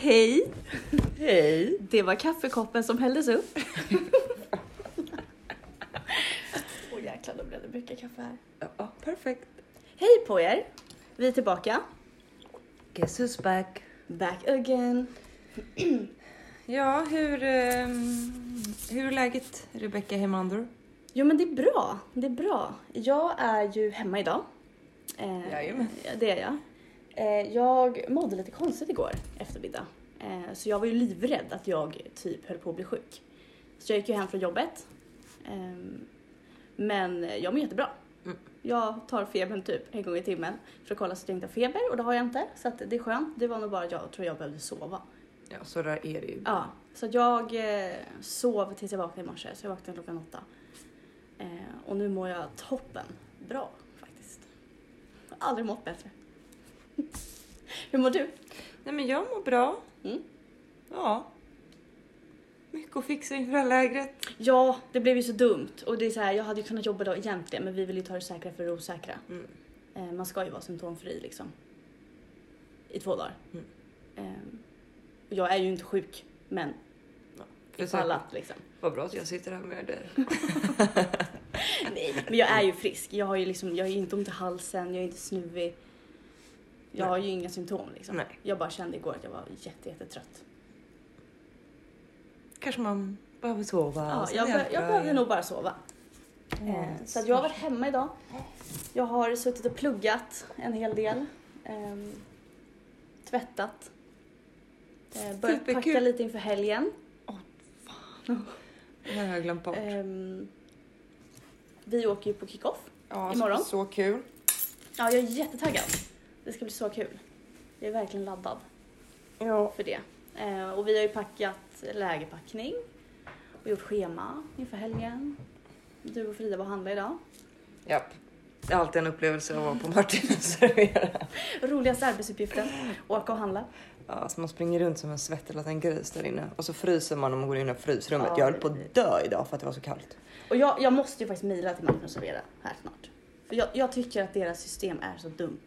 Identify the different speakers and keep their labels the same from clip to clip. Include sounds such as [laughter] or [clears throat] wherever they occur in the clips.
Speaker 1: Hej!
Speaker 2: Hej!
Speaker 1: Det var kaffekoppen som hälldes upp. Åh jäklar, då blev det mycket kaffe här.
Speaker 2: Ja, ja, perfekt.
Speaker 1: Hej på er! Vi är tillbaka.
Speaker 2: Guess who's back?
Speaker 1: Back again.
Speaker 2: Ja, hur, ehm, hur är läget Rebecca Hemander?
Speaker 1: Jo men det är bra, det är bra. Jag är ju hemma idag. Eh,
Speaker 2: Jajamän.
Speaker 1: Det är jag. Eh, jag mådde lite konstigt igår eftermiddag. Eh, så jag var ju livrädd att jag typ höll på att bli sjuk. Så jag gick ju hem från jobbet. Ehm, men jag mår jättebra.
Speaker 2: Mm.
Speaker 1: Jag tar febern typ en gång i timmen för att kolla så att jag inte har feber och det har jag inte. Så att det är skönt. Det var nog bara att jag tror jag behövde sova.
Speaker 2: Ja, så där är det ju.
Speaker 1: Ja, så att jag eh, sov tills jag vaknade i morse, så jag vaknade klockan åtta. Eh, och nu mår jag toppen bra faktiskt. Jag har aldrig mått bättre. [laughs] Hur mår du?
Speaker 2: Nej, men jag mår bra.
Speaker 1: Mm.
Speaker 2: Ja. Mycket att fixa inför det här lägret.
Speaker 1: Ja, det blev ju så dumt. Och det är så här, jag hade ju kunnat jobba då egentligen, men vi vill ju ta det säkra för det osäkra.
Speaker 2: Mm.
Speaker 1: Eh, man ska ju vara symptomfri liksom. I två dagar.
Speaker 2: Mm.
Speaker 1: Eh, och jag är ju inte sjuk, men
Speaker 2: För så-
Speaker 1: ifall att liksom.
Speaker 2: Vad bra att jag sitter här med dig.
Speaker 1: [laughs] Nej, men jag är ju frisk. Jag har ju liksom, jag är ju inte ont i halsen, jag är inte snuvig. Jag
Speaker 2: Nej.
Speaker 1: har ju inga symptom liksom.
Speaker 2: Nej.
Speaker 1: Jag bara kände igår att jag var jätte, jättetrött.
Speaker 2: Kanske man behöver sova.
Speaker 1: Ja,
Speaker 2: sen
Speaker 1: jag,
Speaker 2: är
Speaker 1: be-
Speaker 2: allt
Speaker 1: jag
Speaker 2: bra
Speaker 1: behövde
Speaker 2: igen.
Speaker 1: nog bara sova. Eh, Så att jag har varit hemma idag. Jag har suttit och pluggat en hel del. Ehm, tvättat. Eh, börjat
Speaker 2: Superkul.
Speaker 1: packa lite inför helgen.
Speaker 2: Det här har jag glömt bort.
Speaker 1: Ehm, vi åker ju på kickoff.
Speaker 2: ja,
Speaker 1: imorgon.
Speaker 2: Så kul.
Speaker 1: Ja, jag är jättetaggad. Det ska bli så kul. Jag är verkligen laddad.
Speaker 2: Ja.
Speaker 1: för det. Eh, och vi har ju packat lägerpackning och gjort schema inför helgen. Du och Frida var och handlade idag.
Speaker 2: Japp. Det är alltid en upplevelse att vara på Martinens servera.
Speaker 1: Roligaste arbetsuppgiften, åka och handla.
Speaker 2: Ja, så man springer runt som en svettig gris där inne och så fryser man om man går in i frysrummet.
Speaker 1: Ja,
Speaker 2: jag höll på
Speaker 1: det-
Speaker 2: att dö idag för att det var så kallt.
Speaker 1: Och jag, jag måste ju faktiskt mejla till Martin och Servera här snart. För jag, jag tycker att deras system är så dumt.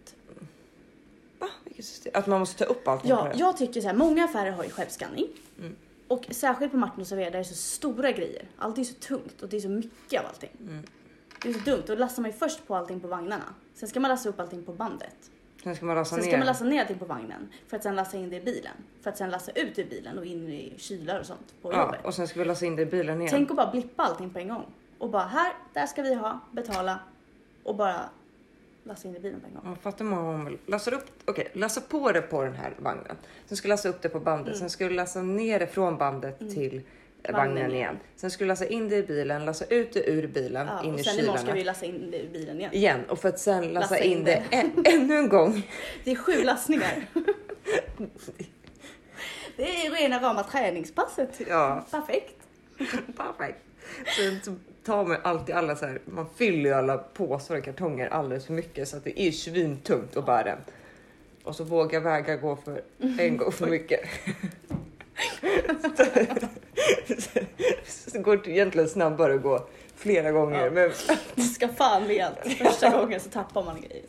Speaker 2: Va? Vilket system? Att man måste ta upp allting på
Speaker 1: Ja,
Speaker 2: det?
Speaker 1: jag tycker så här, många affärer har ju självskanning.
Speaker 2: Mm.
Speaker 1: Och särskilt på Martin och Servera där det är så stora grejer. Allt är så tungt och det är så mycket av allting.
Speaker 2: Mm.
Speaker 1: Det är så dumt. Då lastar man ju först på allting på vagnarna. Sen ska man lasta upp allting på bandet.
Speaker 2: Sen ska man lassa
Speaker 1: Sen
Speaker 2: ner.
Speaker 1: ska man lassa ner allting på vagnen för att sen lassa in det i bilen. För att sen lassa ut i bilen och in i kylar och sånt på
Speaker 2: ja,
Speaker 1: jobbet.
Speaker 2: och sen ska vi lassa in det i bilen igen.
Speaker 1: Tänk att bara blippa allting på en gång. Och bara här, där ska vi ha, betala och bara lassa in i bilen på en gång.
Speaker 2: Ja, fattar man vad hon vill. Lassar upp, okej, lassa på det på den här vagnen. Sen ska du lassa upp det på bandet. Sen ska du lassa ner det från bandet till eh,
Speaker 1: Mm. Vagnen
Speaker 2: vagnen, igen. Sen ska du lassa in det i bilen, lassa ut det ur bilen,
Speaker 1: Ja,
Speaker 2: in
Speaker 1: och
Speaker 2: i
Speaker 1: sen imorgon ska
Speaker 2: kylarna.
Speaker 1: vi lassa in det i bilen igen.
Speaker 2: Igen och för att sen lassa,
Speaker 1: Lassa in
Speaker 2: in det ä- ännu
Speaker 1: [laughs]
Speaker 2: en gång.
Speaker 1: Det är sju lastningar. [laughs] Det är rena rama träningspasset.
Speaker 2: Ja,
Speaker 1: Perfekt.
Speaker 2: perfekt. Sen så typ tar man alltid alla så här, man fyller ju alla påsar och kartonger alldeles för mycket så att det är svintungt att bära. Och så vågar väga gå för en gång för mycket. så det går det egentligen snabbare att gå flera gånger.
Speaker 1: Ja.
Speaker 2: Men,
Speaker 1: Det ska fan med allt. Första gången så tappar man grejer.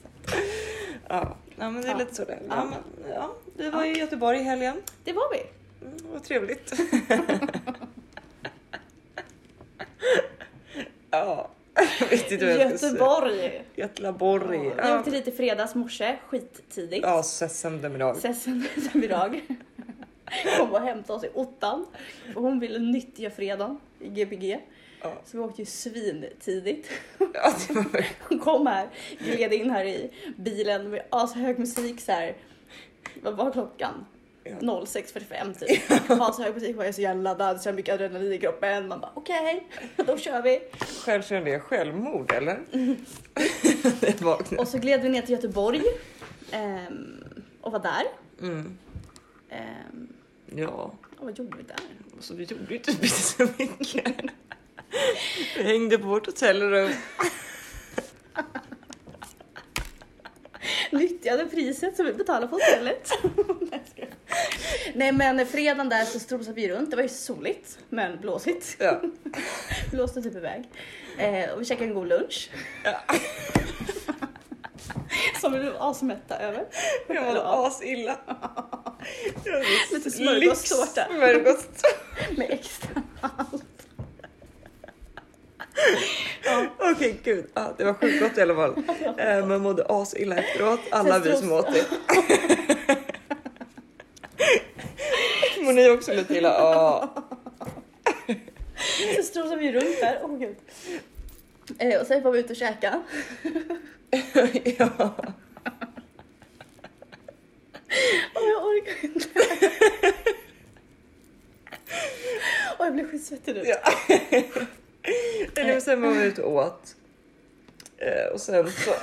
Speaker 2: ja. ja, men det är
Speaker 1: Ja.
Speaker 2: lite så det är.
Speaker 1: Ja.
Speaker 2: ja, men, ja, Vi var i Göteborg i helgen.
Speaker 1: Det var vi.
Speaker 2: Mm, vad trevligt. [laughs] ja, visst är det vad jag ska säga.
Speaker 1: Göteborg.
Speaker 2: Göteborg.
Speaker 1: Ja, Vi
Speaker 2: Ja,
Speaker 1: åkte dit i fredags morse, skittidigt.
Speaker 2: ja sesam dem idag.
Speaker 1: Sen sen middag [laughs] kom och hämtade oss i ottan. Och hon ville nyttja fredagen i Gbg.
Speaker 2: Ja.
Speaker 1: Så vi åkte ju svintidigt.
Speaker 2: Ja, det var-
Speaker 1: [laughs] Hon kom här, gled in här i bilen med ashög musik så här. Vad var klockan?
Speaker 2: Ja.
Speaker 1: 06.45
Speaker 2: [laughs]
Speaker 1: typ. Ashög musik och jag är så jävla laddad, så jag har mycket adrenalin i kroppen. Man bara okej, [laughs] då kör vi.
Speaker 2: Själv kände jag
Speaker 1: [laughs]
Speaker 2: självmord eller? Det vaknade.
Speaker 1: Och så gled vi ner till
Speaker 2: [laughs]
Speaker 1: Göteborg ehm, och var där.
Speaker 2: Mm.
Speaker 1: Ehm,
Speaker 2: Ja,
Speaker 1: och vad gjorde vi där?
Speaker 2: så vi gjorde ju typ inte [laughs] så mycket. Vi hängde på vårt hotellrum.
Speaker 1: nyttjade priset som vi betalade på hotellet. [laughs] Nej, jag skojar. Nej men fredagen där så strosade vi runt. Det var ju soligt men blåsigt.
Speaker 2: Ja.
Speaker 1: Blåste typ iväg. Eh, och vi käkade en god lunch.
Speaker 2: Ja.
Speaker 1: som vi blev asmätta över.
Speaker 2: Jag
Speaker 1: Eller,
Speaker 2: mådde
Speaker 1: ja.
Speaker 2: asilla.
Speaker 1: Lite smörgåstårta.
Speaker 2: Smörgåstårta.
Speaker 1: med extra allt.
Speaker 2: Okej gud, ah, det var sjukt gott i alla fall. Eh, men mådde asilla efteråt, alla vi som åt det.
Speaker 1: [laughs]
Speaker 2: Mår ni också lite illa? Ja. [laughs]
Speaker 1: Så strosar vi runt där. Åh gud. Eh, och sen var vi ute och käka.
Speaker 2: ja.
Speaker 1: Och jag orkar inte. Och jag blev skitsvettig nu.
Speaker 2: Ja. [laughs] Nej, men sen var vi ute och åt. Eh, och sen [laughs] så...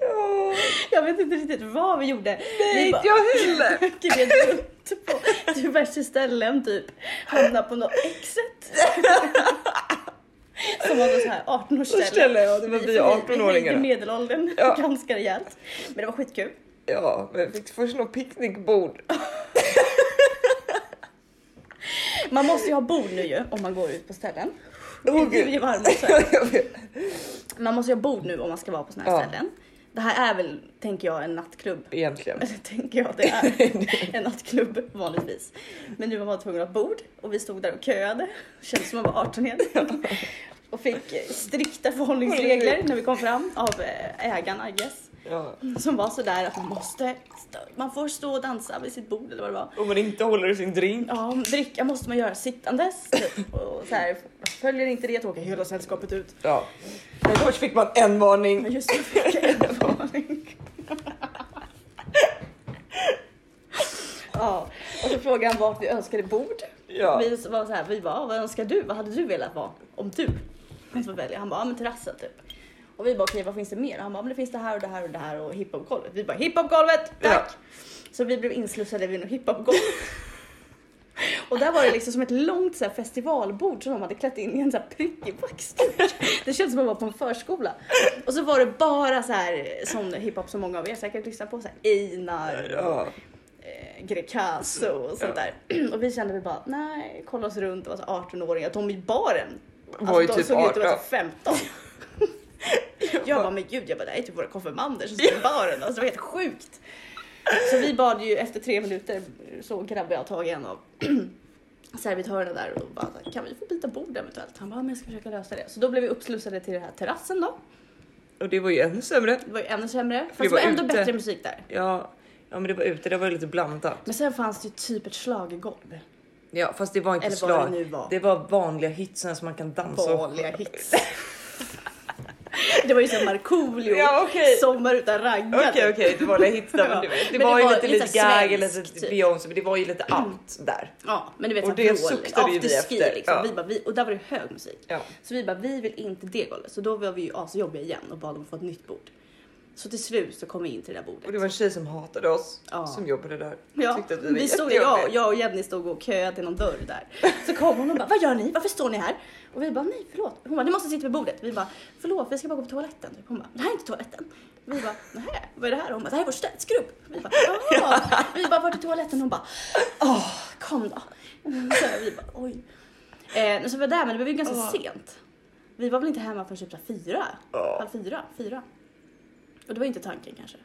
Speaker 2: ja,
Speaker 1: Jag vet inte riktigt vad vi gjorde.
Speaker 2: nej,
Speaker 1: vi
Speaker 2: inte jag heller.
Speaker 1: gled runt på diverse ställen typ. Hamnade på något exet. Som var något så här 18-årsställe.
Speaker 2: Ställe, ja, det var vi
Speaker 1: Vi höjde
Speaker 2: 18-åringar.
Speaker 1: medelåldern
Speaker 2: Ja.
Speaker 1: [laughs] ganska rejält. Men det var skitkul.
Speaker 2: Ja, men vi fick först något picknickbord.
Speaker 1: Man måste ju ha bord nu ju om man går ut på ställen.
Speaker 2: Åh,
Speaker 1: Det blir
Speaker 2: gud.
Speaker 1: varmt också.
Speaker 2: Jag vet.
Speaker 1: Man måste ju ha bord nu om man ska vara på såna här
Speaker 2: Ja.
Speaker 1: ställen. Det här är väl, tänker jag, en nattklubb.
Speaker 2: [laughs] Egentligen.
Speaker 1: Eller tänker jag, [laughs] det är en nattklubb vanligtvis. Men nu var man tvungen att ha bord och vi stod där och köade. Kändes som man var 18 igen. Och fick eh, strikta förhållningsregler när vi kom fram av eh, ägaren I guess.
Speaker 2: Ja.
Speaker 1: Som var sådär att man måste, stå, man får stå och dansa vid sitt bord eller vad det var.
Speaker 2: Om man inte håller i sin drink.
Speaker 1: Ja, dricka måste man göra sittandes typ. Och så här, följer inte det så åker hela sällskapet ut.
Speaker 2: Ja. Men först fick man en varning.
Speaker 1: Men just det, fick jag en varning. [laughs] Ja, och så frågade han vart vi önskade bord.
Speaker 2: Ja.
Speaker 1: Vi var så här, vi bara, "Ah, vad önskar du? Vad hade du velat vara? Om du inte får välja. Han bara, ja men terrassen typ. Och vi bara, okej vad finns det mer? Och han bara, men det finns det här och det här och det här och hiphopgolvet. Vi bara, hiphopgolvet, tack! Så vi blev inslussade vid något hiphopgolv. Och där var det liksom som ett långt så här, festivalbord som de hade klätt in i en så här, prickig backstage. Det kändes som att vara på en förskola. Och så var det bara så här sån hiphop som många av er säkert lyssnar på. Så här, Einar,
Speaker 2: Ja.
Speaker 1: eh, Greekazo och sånt där. [clears throat] Och vi kände vi bara, nej, kolla oss runt och var så 18-åringar. De i baren, alltså
Speaker 2: Var ju
Speaker 1: de
Speaker 2: typ
Speaker 1: såg ut att vara
Speaker 2: 18.
Speaker 1: så
Speaker 2: [laughs]
Speaker 1: 15. Jag bara, men gud, jag bara, det här är typ våra konfirmander som står i baren. Alltså, det var helt sjukt. Så vi bad ju efter tre minuter så grabbade jag tag i en av [clears throat] servitörerna där och bara, kan vi få byta bord eventuellt? Han bara, men jag ska försöka lösa det. Så då blev vi uppslussade till den här terrassen då.
Speaker 2: Och det var ju ännu sämre.
Speaker 1: Det var ju ännu sämre, fast
Speaker 2: Vi
Speaker 1: det var
Speaker 2: var
Speaker 1: ändå
Speaker 2: ute.
Speaker 1: bättre musik där.
Speaker 2: Ja. ja, men det var ute. Det var ju lite blandat.
Speaker 1: Men sen fanns det ju typ ett schlagergolv.
Speaker 2: Ja, fast det var inte
Speaker 1: Eller vad
Speaker 2: slag.
Speaker 1: det nu var.
Speaker 2: Det var vanliga hitsen som man kan dansa och-
Speaker 1: vanliga hits. [laughs] Det var ju som Markoolio,
Speaker 2: Ja, okej.
Speaker 1: Sommar utan typ. raggare.
Speaker 2: Okej okej, det var lite hits där, men det, det,
Speaker 1: Men
Speaker 2: var, ju lite
Speaker 1: lite
Speaker 2: Lady Gaga,
Speaker 1: svensk,
Speaker 2: lite
Speaker 1: typ.
Speaker 2: Beyoncé, men det var ju lite allt där.
Speaker 1: Ja, men du vet
Speaker 2: Och
Speaker 1: så här
Speaker 2: det
Speaker 1: vrål,
Speaker 2: suktade ju vi
Speaker 1: afterski,
Speaker 2: efter,
Speaker 1: Liksom.
Speaker 2: ja.
Speaker 1: Vi bara, vi, och där var det hög musik.
Speaker 2: Ja.
Speaker 1: Så vi bara, vi vill inte det golvet. Så då var vi ju asjobbiga igen och bad om att få ett nytt bord. Så till slut så kom vi in till det där bordet.
Speaker 2: Och det var en tjej som hatade oss
Speaker 1: Ja.
Speaker 2: som jobbade där.
Speaker 1: Ja,
Speaker 2: Tyckte att vi var
Speaker 1: vi stod,
Speaker 2: jättejobbiga.
Speaker 1: jag, jag och Jenny stod och köade till någon dörr där. Så kom hon och bara, vad gör ni? Varför står ni här? Och vi bara, nej förlåt. Hon bara, ni måste sitta vid bordet. Vi bara, förlåt vi ska bara gå på toaletten. Typ. Hon bara, det här är inte toaletten. Vi bara, nej vad är det här? Hon bara, det här är vår städsgrupp. Vi bara, ja. Vi bara, vart är toaletten? Hon bara, åh, kom då. Mm, Så här, vi bara, oj. Eh, så vi var där, men det blev ju ganska
Speaker 2: Åh.
Speaker 1: sent. Vi var väl inte hemma förrän typ så här fyra,
Speaker 2: Ja.
Speaker 1: halv fyra, fyra. Och det var ju inte tanken kanske.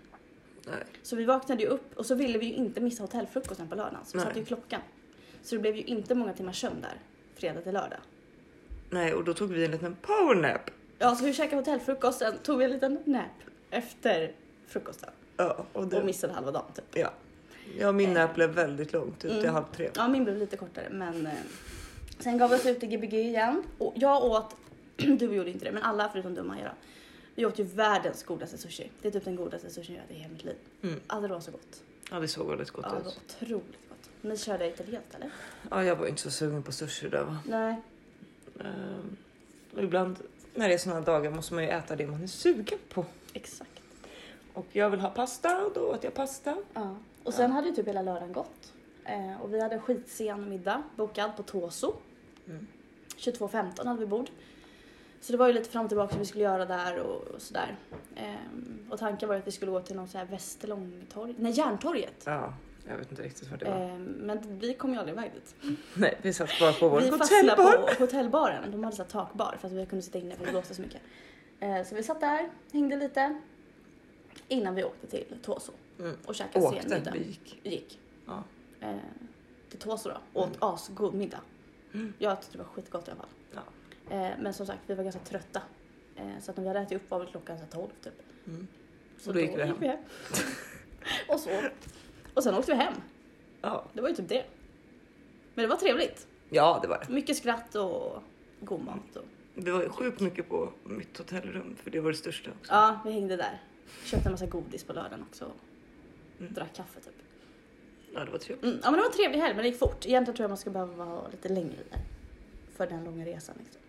Speaker 2: Nej.
Speaker 1: Så vi vaknade ju upp och så ville vi ju inte missa hotellfrukosten på lördagen så vi
Speaker 2: Nej.
Speaker 1: satte ju klockan. Så det blev ju inte många timmars sömn där, fredag till lördag.
Speaker 2: Nej, och då tog vi en liten powernap.
Speaker 1: Ja, så vi käkade hotellfrukosten, tog en liten nap efter frukosten
Speaker 2: Ja, och det,
Speaker 1: och missade halva dagen typ.
Speaker 2: ja. ja, min
Speaker 1: Eh.
Speaker 2: nap blev väldigt lång, typ till
Speaker 1: Mm.
Speaker 2: halv tre.
Speaker 1: Ja, min blev lite kortare men eh, sen gav vi oss ut i Gbg igen och jag åt, [clears throat] du gjorde inte det, men alla förutom du och Maja då. Vi åt ju världens godaste sushi. Det är typ den godaste sushi jag ätit i hela mitt liv.
Speaker 2: Mm.
Speaker 1: Alltså det var så gott.
Speaker 2: Ja, det såg väldigt
Speaker 1: Ja,
Speaker 2: gott
Speaker 1: det var
Speaker 2: ut.
Speaker 1: otroligt gott. Ni körde italienskt eller?
Speaker 2: Ja, jag var inte så sugen på sushi där va.
Speaker 1: Nej.
Speaker 2: Ehm, och ibland när det är sådana dagar måste man ju äta det man är sugen på.
Speaker 1: Exakt.
Speaker 2: Och jag vill ha pasta och då åt jag pasta.
Speaker 1: Ja. Och sen hade ju typ hela lördagen gått. Eh, och vi hade en skitsen middag bokad på Toso.
Speaker 2: Mm.
Speaker 1: 22.15 hade vi bord. Så det var ju lite fram och tillbaka som vi skulle göra där och, och sådär. Ehm, och tanken var att vi skulle gå till någon så här Västerlångtorg, nej Järntorget.
Speaker 2: Ja, jag vet inte riktigt vad det var. [laughs]
Speaker 1: Ehm, men vi kom ju aldrig iväg dit.
Speaker 2: Nej, vi satt bara på vårt
Speaker 1: vi fastnade
Speaker 2: hotellbar.
Speaker 1: på hotellbaren. De hade så här takbar för att vi kunde sitta inne för det blåste så mycket. Eh, så vi satt där, hängde lite. Innan vi åkte till Tåso
Speaker 2: Mm.
Speaker 1: och käkade
Speaker 2: Åkte,
Speaker 1: senmiddag.
Speaker 2: vi gick.
Speaker 1: Gick.
Speaker 2: Ja. Mm.
Speaker 1: Eh, till Tåso då. Åt asgod middag. Jag tyckte det var skitgott i alla fall.
Speaker 2: Ja.
Speaker 1: Eh, men som sagt, vi var ganska trötta. Eh, så att när vi hade ätit upp var väl klockan så här 12 typ.
Speaker 2: Mm.
Speaker 1: Så
Speaker 2: Och då gick vi hem.
Speaker 1: [laughs] och så. Och sen åkte vi hem.
Speaker 2: Ja.
Speaker 1: Det var ju typ det. Men det var trevligt.
Speaker 2: ja, det var det.
Speaker 1: Mycket skratt och god mat. Och...
Speaker 2: Det var sjukt mycket på mitt hotellrum för det var det största också.
Speaker 1: Ja, vi hängde där. Köpte en massa godis på lördagen också.
Speaker 2: Mm.
Speaker 1: Drack kaffe typ.
Speaker 2: Ja, det var trevligt.
Speaker 1: Mm, ja men det var en trevlig helg men det gick fort. Egentligen tror jag man ska behöva vara lite längre där. För den långa resan liksom.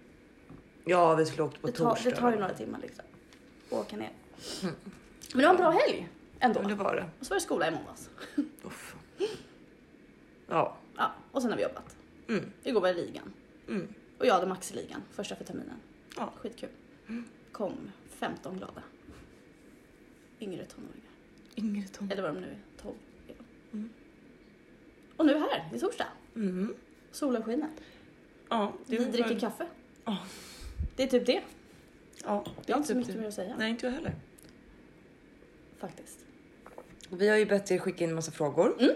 Speaker 2: Ja, vi skulle åkt på
Speaker 1: Det tar,
Speaker 2: torsdag. Mm.
Speaker 1: det tar ju några timmar liksom. att Åka ner. Men det var en bra helg ändå.
Speaker 2: Men det var det.
Speaker 1: Och så var det skola i måndags.
Speaker 2: Uff. Ja.
Speaker 1: Ja, och sen har vi jobbat.
Speaker 2: Mm.
Speaker 1: Igår var det ligan.
Speaker 2: Mm.
Speaker 1: Och jag hade maxligan första för terminen.
Speaker 2: Ja.
Speaker 1: Skitkul. Kom 15 glada. Yngre tonåringar.
Speaker 2: Yngre Tom.
Speaker 1: Eller vad de nu är, 12. är de.
Speaker 2: Mm.
Speaker 1: Och nu är vi här, det är torsdag.
Speaker 2: Mm.
Speaker 1: Solen skiner.
Speaker 2: Ja,
Speaker 1: Vi
Speaker 2: var-
Speaker 1: dricker kaffe.
Speaker 2: Ja.
Speaker 1: Det är typ det.
Speaker 2: Ja,
Speaker 1: Jag har inte så
Speaker 2: typ
Speaker 1: mycket
Speaker 2: det.
Speaker 1: mer att säga
Speaker 2: Nej, inte jag heller.
Speaker 1: faktiskt.
Speaker 2: Vi har ju bett er skicka in massa frågor.
Speaker 1: Mm.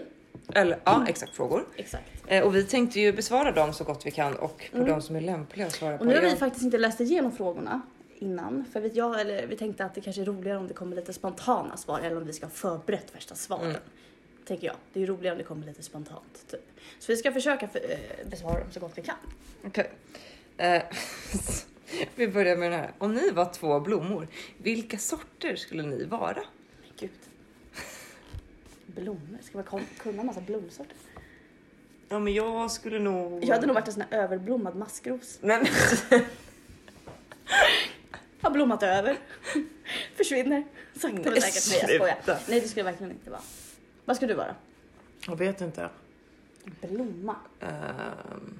Speaker 2: Eller ja, exakt frågor.
Speaker 1: Exakt.
Speaker 2: Eh, och vi tänkte ju besvara dem så gott vi kan och på
Speaker 1: Mm.
Speaker 2: de som är lämpliga att svara
Speaker 1: Och
Speaker 2: på.
Speaker 1: nu har vi
Speaker 2: Jag-
Speaker 1: faktiskt inte läst igenom frågorna innan. För vet jag, eller, vi tänkte att det kanske är roligare om det kommer lite spontana svar eller om vi ska ha förberett värsta svaren.
Speaker 2: Mm.
Speaker 1: Tänker jag. Det är ju roligare om det kommer lite spontant. Typ. Så vi ska försöka för, eh, besvara dem så gott vi kan.
Speaker 2: Okej. Eh, [laughs] vi börjar med den här. Om ni var två blommor, vilka sorter skulle ni vara?
Speaker 1: Men gud. Blommor. Ska man kon- kunna massa blomsorter?
Speaker 2: Ja, men jag skulle nog...
Speaker 1: Jag hade nog varit en sån här överblommad maskros.
Speaker 2: Men
Speaker 1: Har blommat över. [laughs] Försvinner. Sakta men
Speaker 2: Nej,
Speaker 1: säkert. Nej jag skojar.
Speaker 2: sluta.
Speaker 1: Nej det skulle jag verkligen inte vara. Vad ska du vara?
Speaker 2: [laughs] jag vet inte.
Speaker 1: Blomma.
Speaker 2: Ehm,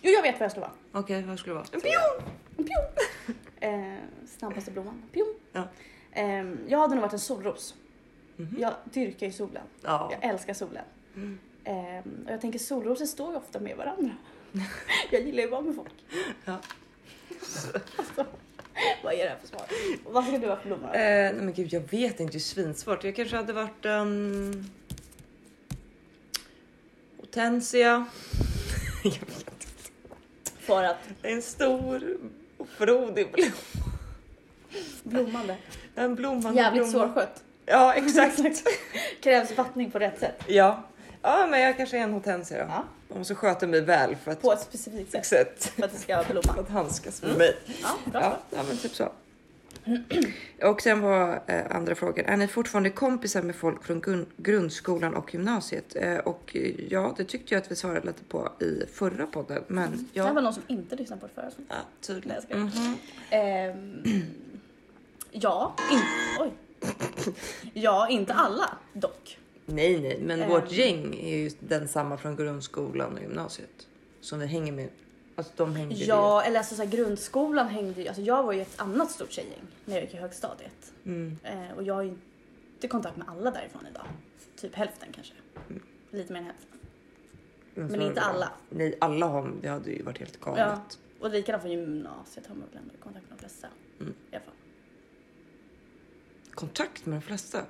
Speaker 1: Jo jag vet vad jag ska vara.
Speaker 2: Okej, vad skulle det vara?
Speaker 1: En pion! En pion!
Speaker 2: [laughs]
Speaker 1: Eh, snabbaste blomman. Pion.
Speaker 2: Ja.
Speaker 1: Eh, jag hade nog varit en solros.
Speaker 2: Mhm.
Speaker 1: Jag dyrkar ju solen.
Speaker 2: Ja.
Speaker 1: Jag älskar solen.
Speaker 2: Mm.
Speaker 1: Eh, och jag tänker solrosor står ju ofta med
Speaker 2: [laughs]
Speaker 1: varandra. jag gillar ju att vara med folk.
Speaker 2: Ja.
Speaker 1: alltså, vad är det här för svar? Och Vad ska du vara för blomma då?
Speaker 2: Eh, nej men gud, jag vet inte. Det är svinsvårt. Jag kanske hade varit... Um... Hortensia. jag vet inte.
Speaker 1: För att
Speaker 2: En stor och frodig blom.
Speaker 1: blommande.
Speaker 2: En blommande
Speaker 1: Jävligt
Speaker 2: blomma.
Speaker 1: svårskött. [laughs]
Speaker 2: Ja, exakt.
Speaker 1: Krävs vattning på rätt sätt.
Speaker 2: ja. ja, men jag kanske är en hortensia då.
Speaker 1: Ja.
Speaker 2: Och så sköter mig väl för att...
Speaker 1: På ett specifikt sätt.
Speaker 2: Exakt.
Speaker 1: För att det ska
Speaker 2: För [laughs]
Speaker 1: blomma.
Speaker 2: att handskas med mig.
Speaker 1: Ja, bra
Speaker 2: Ja,
Speaker 1: svar.
Speaker 2: ja, men typ så. Och sen var eh, andra frågan. Är ni fortfarande kompisar med folk från grund, grundskolan och gymnasiet? Eh, och eh, ja, det tyckte jag att vi svarade lite på i förra podden, men
Speaker 1: Mm. Det här var
Speaker 2: ja.
Speaker 1: någon som inte lyssnade på det förra.
Speaker 2: ja
Speaker 1: Nej, jag
Speaker 2: tydligen.
Speaker 1: skojar.
Speaker 2: Mhm.
Speaker 1: Ehm, ja, in, oj. ja, inte alla dock.
Speaker 2: Nej, nej, men
Speaker 1: Ehm.
Speaker 2: vårt gäng är ju densamma från grundskolan och gymnasiet som vi hänger med. Alltså de hängde vi-
Speaker 1: Ja, eller alltså så här, grundskolan hängde ju, alltså jag var ju ett annat stort tjejgäng när jag gick i högstadiet.
Speaker 2: Mm.
Speaker 1: Eh, och jag har ju inte kontakt med alla därifrån idag. Typ hälften kanske.
Speaker 2: Mm.
Speaker 1: Lite mer än hälften.
Speaker 2: så
Speaker 1: Men inte
Speaker 2: var det.
Speaker 1: alla.
Speaker 2: Nej, alla har, det hade ju varit helt galet.
Speaker 1: Och likadant från gymnasiet har man väl ändå kontakt med de flesta.
Speaker 2: Mm.
Speaker 1: I alla fall.
Speaker 2: Kontakt med de flesta.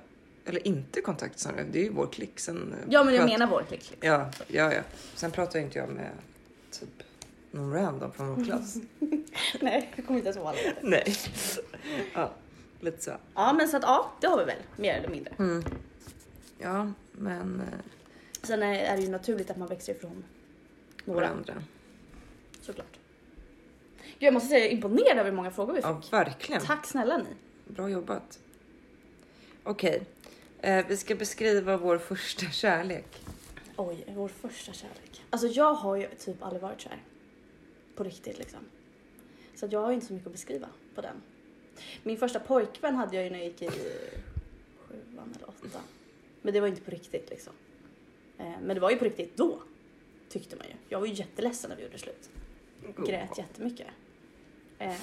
Speaker 2: Eller inte kontakt snarare, det är ju vår klick. Sen, eh,
Speaker 1: Ja, men jag
Speaker 2: pratar-
Speaker 1: menar vår klick. liksom.
Speaker 2: Ja, ja, ja. Sen pratar inte jag med typ någon random
Speaker 1: [laughs]
Speaker 2: från vår klass.
Speaker 1: [laughs] Nej, jag kommer inte ens ihåg alla.
Speaker 2: Nej. Ja, lite så.
Speaker 1: Ja, men så att ja, det har vi väl mer eller mindre.
Speaker 2: Mm. Ja, men eh,
Speaker 1: Sen är är det ju naturligt att man växer ifrån några.
Speaker 2: varandra.
Speaker 1: Såklart. Gud, jag måste säga jag är imponerad över hur många frågor vi fick.
Speaker 2: Ja, verkligen.
Speaker 1: Tack snälla ni.
Speaker 2: Bra jobbat. Okej, eh, vi ska beskriva vår första kärlek.
Speaker 1: Oj, vår första kärlek. Alltså jag har ju typ aldrig varit kär. På riktigt liksom. Så att jag har ju inte så mycket att beskriva på den. Min första pojkvän hade jag ju när jag gick i sjuan eller åttan. Men det var ju inte på riktigt liksom. Eh, Men det var ju på riktigt då. Tyckte man ju. Jag var ju jätteledsen när vi gjorde slut. grät jättemycket. Ehm,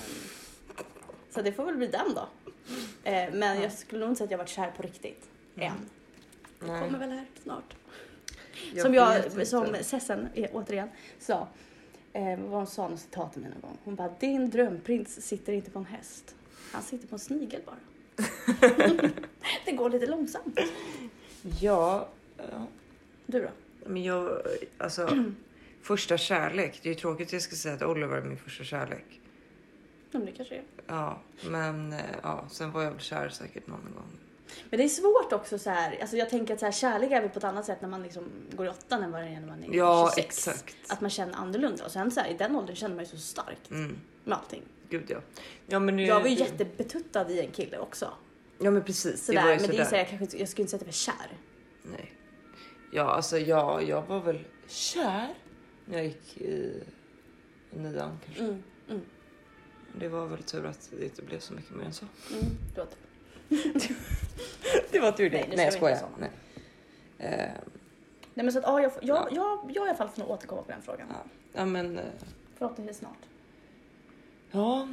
Speaker 1: så det får väl bli den då. Ehm, men jag skulle nog inte säga att jag varit kär på riktigt.
Speaker 2: Mm.
Speaker 1: Än. Det
Speaker 2: Nej,
Speaker 1: kommer väl här snart.
Speaker 2: jag
Speaker 1: som
Speaker 2: vet inte.
Speaker 1: jag, som Sessen eh, återigen sa. ehm, vad hon sa något
Speaker 2: [laughs]
Speaker 1: citat till mig någon gång. Hon bara, din drömprins sitter inte på en häst. Han sitter på en snigel bara. Det går lite långsamt.
Speaker 2: Ja, ja,
Speaker 1: Du då?
Speaker 2: men jag, alltså
Speaker 1: [clears throat]
Speaker 2: första kärlek. Det är ju tråkigt att jag ska säga att Oliver är min första kärlek.
Speaker 1: Ja, men det kanske är.
Speaker 2: Ja, men eh, ja, sen var jag väl kär säkert någon gång.
Speaker 1: Men det är svårt också så här. Alltså jag tänker att så här, kärlek är väl på ett annat sätt när man liksom går i åttan än vad det är när man är
Speaker 2: Ja,
Speaker 1: 26.
Speaker 2: exakt.
Speaker 1: Att man känner annorlunda. Och sen så här, i den åldern känner man ju så starkt
Speaker 2: Mm,
Speaker 1: med allting.
Speaker 2: gud ja. Ja, men nu,
Speaker 1: Jag var ju jättebetuttad i en kille också.
Speaker 2: Ja, men precis.
Speaker 1: Sådär,
Speaker 2: det var ju
Speaker 1: men det är
Speaker 2: sådär.
Speaker 1: så här, jag, kanske, inte- jag skulle inte säga att jag var kär.
Speaker 2: Nej. Ja, alltså ja, jag var väl kär när jag gick i nian kanske.
Speaker 1: Mm, mm,
Speaker 2: Det var väl tur att det inte blev så mycket mer än så.
Speaker 1: mm. Det var typ-
Speaker 2: Det var
Speaker 1: [laughs]
Speaker 2: tur
Speaker 1: det. Nej,
Speaker 2: Nej,
Speaker 1: nu ska
Speaker 2: jag
Speaker 1: vi inte
Speaker 2: skojar. Nej. Eh,
Speaker 1: Nej men så att ja, jag, får- jag,
Speaker 2: Ja.
Speaker 1: jag, jag i alla fall får nog återkomma på den frågan.
Speaker 2: Ja. ja, men eh,
Speaker 1: Förhoppningsvis snart.
Speaker 2: ja,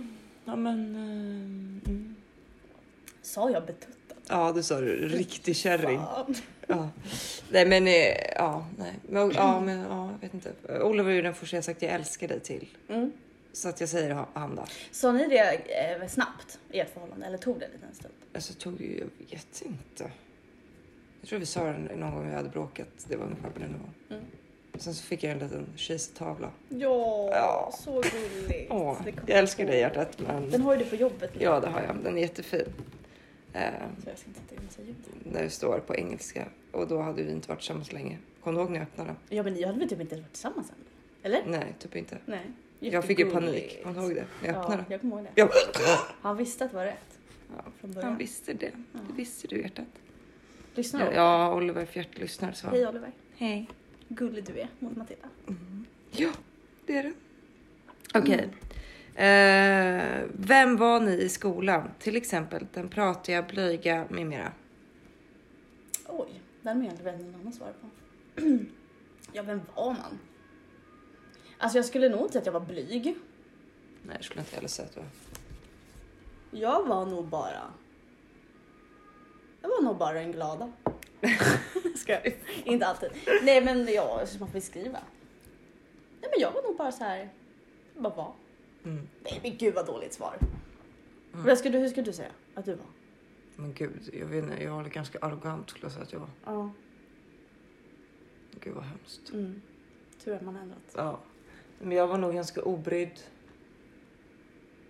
Speaker 2: ja, men eh, mm.
Speaker 1: Sa jag betuttad?
Speaker 2: ja, du sa det. riktig kärring.
Speaker 1: Fan.
Speaker 2: Ja. Nej, men eh, ja, nej, men, ja, men ja, jag vet inte. Eh, Oliver är ju den första jag sagt jag älskar dig till,
Speaker 1: Mm.
Speaker 2: så att jag säger ha- han då.
Speaker 1: Sa ni det eh, snabbt i ert förhållande eller tog det en liten stund?
Speaker 2: Alltså tog ju, jag vet inte. Jag tror vi sa det någon gång vi hade bråkat. Det var ungefär på den nivån.
Speaker 1: Mm.
Speaker 2: Sen så fick jag en liten kiseltavla.
Speaker 1: Ja,
Speaker 2: Ja.
Speaker 1: så gulligt.
Speaker 2: Åh,
Speaker 1: Det kommer
Speaker 2: jag älskar
Speaker 1: på.
Speaker 2: dig hjärtat men
Speaker 1: Den har ju du på jobbet nu.
Speaker 2: ja det har jag. Den är jättefin. Eh,
Speaker 1: Så jag ska inte sätta in massa ljud.
Speaker 2: när det står på engelska och då hade vi inte varit tillsammans länge. Kommer du ihåg när jag öppnade?
Speaker 1: Ja men ni hade väl typ inte ens varit tillsammans än? Eller?
Speaker 2: Nej, typ inte.
Speaker 1: Nej.
Speaker 2: Jag fick ju panik.
Speaker 1: Jättegulligt.
Speaker 2: Kommer du ihåg det? När jag
Speaker 1: Ja,
Speaker 2: öppnade.
Speaker 1: jag kommer ihåg det.
Speaker 2: Jag
Speaker 1: Han visste att det var rätt.
Speaker 2: Ja.
Speaker 1: Från
Speaker 2: Han
Speaker 1: början.
Speaker 2: visste det.
Speaker 1: Ja.
Speaker 2: Det visste du hjärtat.
Speaker 1: Lyssna då.
Speaker 2: Ja, Oliver Fjärt lyssnar så.
Speaker 1: Hej Oliver.
Speaker 2: Hej.
Speaker 1: Gullig du är mot Matilda.
Speaker 2: Ja, det är det. Okej. Eh, vem var ni i skolan? Till exempel den pratiga, blyga med mera.
Speaker 1: Oj, den menar väl någon annan svar på. ja, vem var man? Alltså jag skulle nog inte säga att jag var blyg.
Speaker 2: Nej, jag skulle inte heller säga att det var.
Speaker 1: Jag var nog bara... Jag var nog bara en glada. Ska jag? Inte alltid. Nej men ja, hur ska man beskriva? Nej men jag var nog bara så här... jag Bara var.
Speaker 2: Mm.
Speaker 1: Nej men gud vad dåligt svar.
Speaker 2: Mm.
Speaker 1: Vad skulle, du- hur skulle du säga att du var?
Speaker 2: Men gud, jag vet inte. Jag var ganska arrogant skulle jag säga att jag var.
Speaker 1: Ja.
Speaker 2: Gud vad hemskt.
Speaker 1: Mm. Tur att man ändrat.
Speaker 2: Ja, men jag var nog ganska obrydd.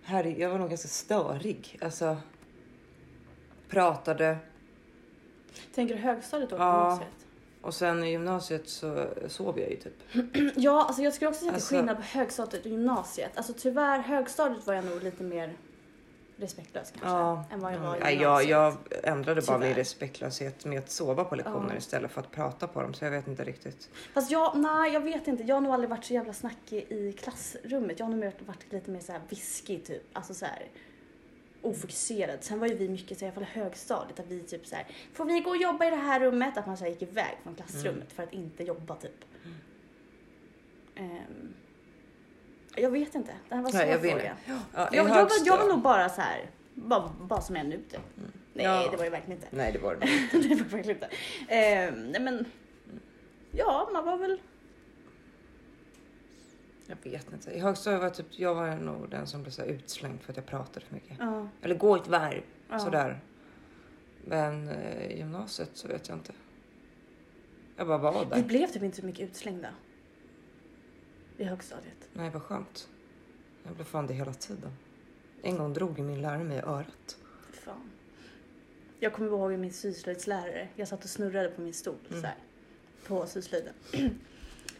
Speaker 2: Här, jag var nog ganska störig. Alltså. Pratade
Speaker 1: Tänker du högstadiet då? på
Speaker 2: Ja.
Speaker 1: gymnasiet?
Speaker 2: och sen i gymnasiet så sov jag ju typ.
Speaker 1: [clears throat] Ja, alltså jag skulle också säga att
Speaker 2: Alltså-
Speaker 1: det är skillnad på högstadiet och gymnasiet. Alltså tyvärr, högstadiet var jag nog lite mer respektlös kanske. än vad jag var i
Speaker 2: ja,
Speaker 1: gymnasiet.
Speaker 2: jag, jag ändrade bara min
Speaker 1: Tyvärr.
Speaker 2: respektlöshet med att sova på lektioner
Speaker 1: Ja.
Speaker 2: istället för att prata på dem så jag vet inte riktigt.
Speaker 1: Fast jag, nej jag vet inte. Jag har nog aldrig varit så jävla snackig i klassrummet. Jag har nog mer varit lite mer såhär viskig typ. Alltså såhär ofokuserad. Sen var ju vi mycket så här, i alla fall högstadiet, att vi typ såhär, får vi gå och jobba i det här rummet? Att man såhär gick iväg från klassrummet
Speaker 2: Mm.
Speaker 1: för att inte jobba typ. Ehm, jag vet inte. Det här var en svår
Speaker 2: Nej, jag vet
Speaker 1: fråga.
Speaker 2: Ja, i
Speaker 1: Jag, jag, var,
Speaker 2: högsta-
Speaker 1: jag var nog bara så här, bara, bara som jag är nu typ. Nej,
Speaker 2: Mm. Ja.
Speaker 1: det var jag verkligen inte. [laughs]
Speaker 2: Nej det var det nog.
Speaker 1: det var jag verkligen inte. Eh, nej men, ja man var väl,
Speaker 2: Jag vet inte. I högstadiet var jag typ, jag var nog den som blev så här utslängd för att jag pratade för mycket.
Speaker 1: ja.
Speaker 2: Eller gå ett varv
Speaker 1: ja.
Speaker 2: sådär. Men eh, i gymnasiet så vet jag inte. Jag bara var
Speaker 1: Vi
Speaker 2: där.
Speaker 1: blev typ inte så mycket utslängda. I högstadiet.
Speaker 2: Nej vad skönt. Jag blev fan det hela tiden. En gång drog ju min lärare mig i örat.
Speaker 1: Fy Fan. Jag kommer ihåg min syslöjdslärare. Jag satt och snurrade på min stol
Speaker 2: Mm.
Speaker 1: så här, på syslöjden. [clears throat]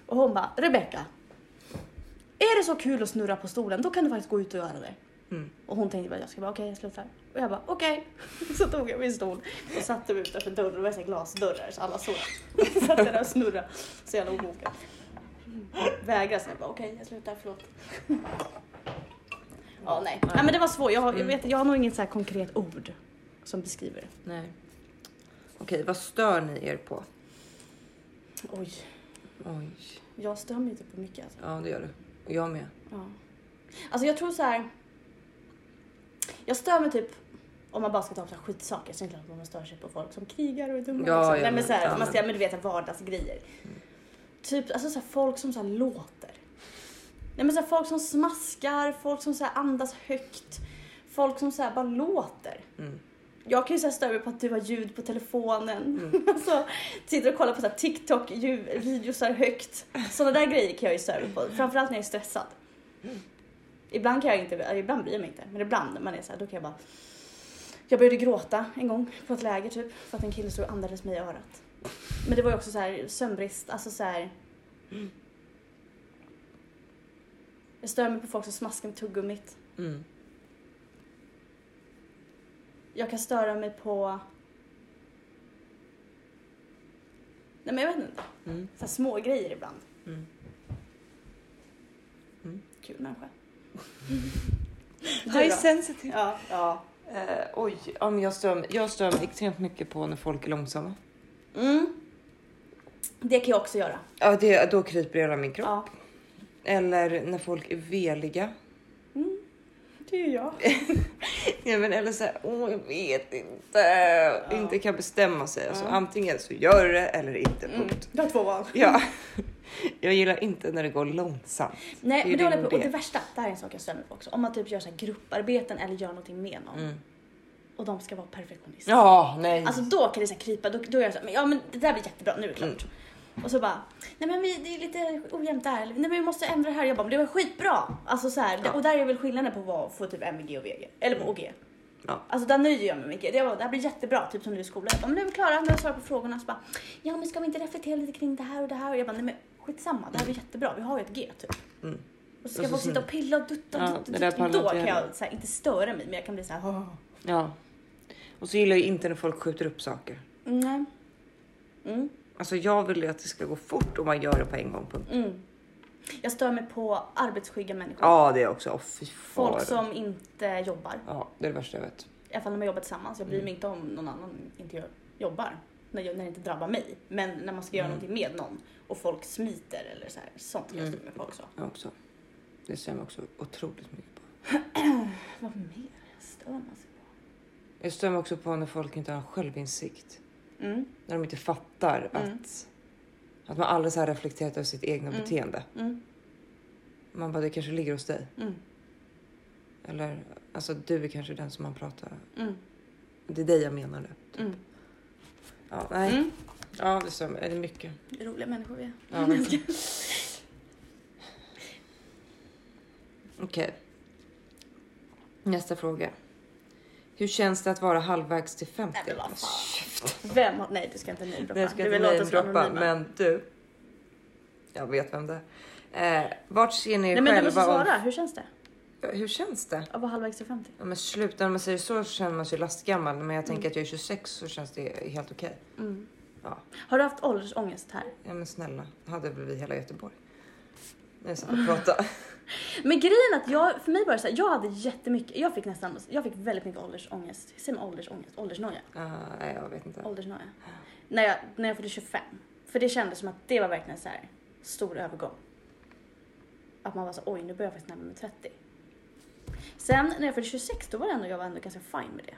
Speaker 1: och hon bara, Rebecka. Är det så kul att snurra på stolen, då kan du faktiskt gå ut och göra det.
Speaker 2: Mm.
Speaker 1: Och hon tänkte bara, jag ska bara okej, jag slutar. Och jag bara okej. [laughs] Så tog jag min stol och satte mig utanför dörren. Det var så här glasdörrar så alla såg. [laughs] Så satt jag där och snurrade. Så jävla obokad. Vägrade sen, jag bara okej, jag slutar, förlåt. Ja, nej. nej. men det var svårt. Jag har, jag
Speaker 2: Mm.
Speaker 1: vet, jag har nog inget så här konkret ord som beskriver det.
Speaker 2: Nej. Okej, vad stör ni er på?
Speaker 1: Oj,
Speaker 2: Oj.
Speaker 1: jag stör mig inte på mycket alltså.
Speaker 2: Ja, det gör du. Och jag med.
Speaker 1: Ja. Alltså jag tror så här. Jag stör mig typ om man bara ska ta upp så här skitsaker så är det klart att man stör sig på folk som krigar och är dumma.
Speaker 2: Ja,
Speaker 1: liksom.
Speaker 2: ja,
Speaker 1: Nej,
Speaker 2: Mm.
Speaker 1: men
Speaker 2: men
Speaker 1: så här,
Speaker 2: fan.
Speaker 1: man stör, men du vet så här vardagsgrejer. Typ alltså så här, folk som så här låter. Nej men så här, folk som smaskar, folk som så här andas högt. Folk som så här bara låter.
Speaker 2: Mm.
Speaker 1: jag kan ju så här störa mig på att du har ljud på telefonen. alltså, sitter och kollar på så här TikTok, ljud- videosar högt. Sådana där grejer kan jag ju störa mig på. Framförallt när jag är stressad. Ibland kan jag inte, eller ibland bryr jag mig inte. Men ibland när man är så här, då kan jag bara. Jag började gråta en gång på ett läger typ. För att en kille stod och andades mig i örat. Men det var ju också så här sömnbrist, alltså så här. Jag stör mig på folk som smaskar med tuggummit.
Speaker 2: Mm.
Speaker 1: Jag kan störa mig på... Nej men jag vet inte.
Speaker 2: Mm.
Speaker 1: Så här små grejer ibland.
Speaker 2: Mm. Mm.
Speaker 1: Kul människa.
Speaker 2: High
Speaker 1: då?
Speaker 2: sensitive.
Speaker 1: Ja, ja.
Speaker 2: Eh, oj, ja, men jag stör, mig- jag stör mig extremt mycket på när folk är långsamma.
Speaker 1: Mm. Det kan jag också göra.
Speaker 2: Ja, det, då kryper hela min kropp.
Speaker 1: Ja.
Speaker 2: Eller när folk är veliga.
Speaker 1: Mm. Det är jag.
Speaker 2: Ja, men eller så här, åh, jag vet inte. Inte kan bestämma sig. Alltså,
Speaker 1: Ja.
Speaker 2: Antingen så gör du det eller inte.
Speaker 1: Mm.
Speaker 2: Punkt.
Speaker 1: Du har två val.
Speaker 2: Ja, [laughs] jag gillar inte när det går långsamt.
Speaker 1: Nej,
Speaker 2: Det är
Speaker 1: men det håller jag på.
Speaker 2: din
Speaker 1: Och det
Speaker 2: del.
Speaker 1: värsta, det här är en sak jag stör mig på också. Om man typ gör så här grupparbeten eller gör någonting med någon
Speaker 2: Mm.
Speaker 1: och de ska vara perfektionister.
Speaker 2: Ja, nej.
Speaker 1: Alltså då kan det så här krypa, då, då är jag såhär, ja men det där blir jättebra, nu är det klart.
Speaker 2: Mm.
Speaker 1: Och så bara, nej men vi, det är lite ojämnt där, eller, nej men vi måste ändra det här. Jag bara, men det var skitbra! Alltså så här,
Speaker 2: Ja. Mm.
Speaker 1: och där är väl skillnaden på vad få typ MVG och VG, eller på OG.
Speaker 2: Ja.
Speaker 1: Alltså där nöjer jag mig mycket. Det, var, det här blir jättebra, typ som nu i skolan. Jag bara, men nu är vi klara, nu har jag svarat på frågorna. Så bara, ja men ska vi inte reflektera lite kring det här och det här? Och jag bara, nej men skitsamma, det här blir jättebra, vi har ju ett G typ.
Speaker 2: Mm.
Speaker 1: Och så ska
Speaker 2: Och så
Speaker 1: folk
Speaker 2: sen-
Speaker 1: sitta och pilla och dutta och
Speaker 2: Ja,
Speaker 1: dutta,
Speaker 2: det där
Speaker 1: dutta. Och
Speaker 2: pallar
Speaker 1: Då
Speaker 2: inte
Speaker 1: kan
Speaker 2: jag
Speaker 1: jag så här, inte störa mig, men jag kan bli så här, "Åh."
Speaker 2: Ja. Och så gillar jag inte när folk skjuter upp saker.
Speaker 1: nej. Mm.
Speaker 2: Alltså jag vill ju att det ska gå fort och man gör det på en gång. Punkt.
Speaker 1: Mm. Jag stör mig på arbetsskygga människor.
Speaker 2: Ja, det är också. Åh fy
Speaker 1: Folk
Speaker 2: far.
Speaker 1: som inte jobbar.
Speaker 2: Ja, det är det värsta jag vet.
Speaker 1: I alla fall när man jobbar tillsammans.
Speaker 2: Mm.
Speaker 1: Jag bryr mig inte om någon annan inte gör- jobbar. När, jag, när det inte drabbar mig. Men när man ska göra
Speaker 2: Mm.
Speaker 1: någonting med någon och folk smiter eller så här. Sånt kan jag störa mig på också.
Speaker 2: Jag också. Det ser jag också otroligt mycket på.
Speaker 1: Vad mer stör man sig på?
Speaker 2: Jag stör mig också på när folk inte har självinsikt.
Speaker 1: Mm,
Speaker 2: När de inte fattar
Speaker 1: Mm.
Speaker 2: att, att man aldrig så här reflekterat över sitt egna
Speaker 1: Mm.
Speaker 2: beteende.
Speaker 1: mm,
Speaker 2: Man bara, det kanske ligger hos dig.
Speaker 1: mm,
Speaker 2: Eller alltså, du är kanske den som man pratar.
Speaker 1: mm,
Speaker 2: Det är dig jag menar nu. typ.
Speaker 1: mm.
Speaker 2: Ja, nej.
Speaker 1: Mm.
Speaker 2: Ja, det stör mig. Är det mycket?
Speaker 1: Roliga människor vi är.
Speaker 2: Ja,
Speaker 1: [laughs]
Speaker 2: men- Okej. Nästa fråga. Hur känns det att vara halvvägs till 50?
Speaker 1: Nej, men vad fan. Vem har... Nej, du ska inte namedroppa.
Speaker 2: Mm. Nej, ska
Speaker 1: Du
Speaker 2: inte
Speaker 1: vill låta så
Speaker 2: namedroppa,
Speaker 1: anonyma.
Speaker 2: men du. Jag vet vem det är. Eh, vart ser ni er
Speaker 1: Nej men du måste
Speaker 2: själva? om-
Speaker 1: svara. Hur känns det?
Speaker 2: Ja, Hur känns det?
Speaker 1: Att vara halvvägs till 50?
Speaker 2: Ja, men sluta, när man säger så känner man sig lastgammal. Men jag tänker
Speaker 1: Mm.
Speaker 2: att jag är 26 så känns det helt okej.
Speaker 1: Mm.
Speaker 2: Ja.
Speaker 1: Har du haft åldersångest här?
Speaker 2: Ja, men snälla, hade väl vi hela Göteborg. Nu satt vi och pratade.
Speaker 1: [laughs] Men grejen är att jag, för mig var det såhär, jag hade jättemycket, jag fick nästan, jag fick väldigt mycket åldersångest, säger man åldersångest? Åldersnoja?
Speaker 2: Ah, nej, jag vet inte.
Speaker 1: Åldersnoja. När jag, när jag fyllde 25. För det kändes som att det var verkligen så här stor övergång. Att man var så oj nu börjar jag faktiskt närma mig 30. Sen när jag fyllde 26 då var det ändå, jag var ändå ganska fine med det.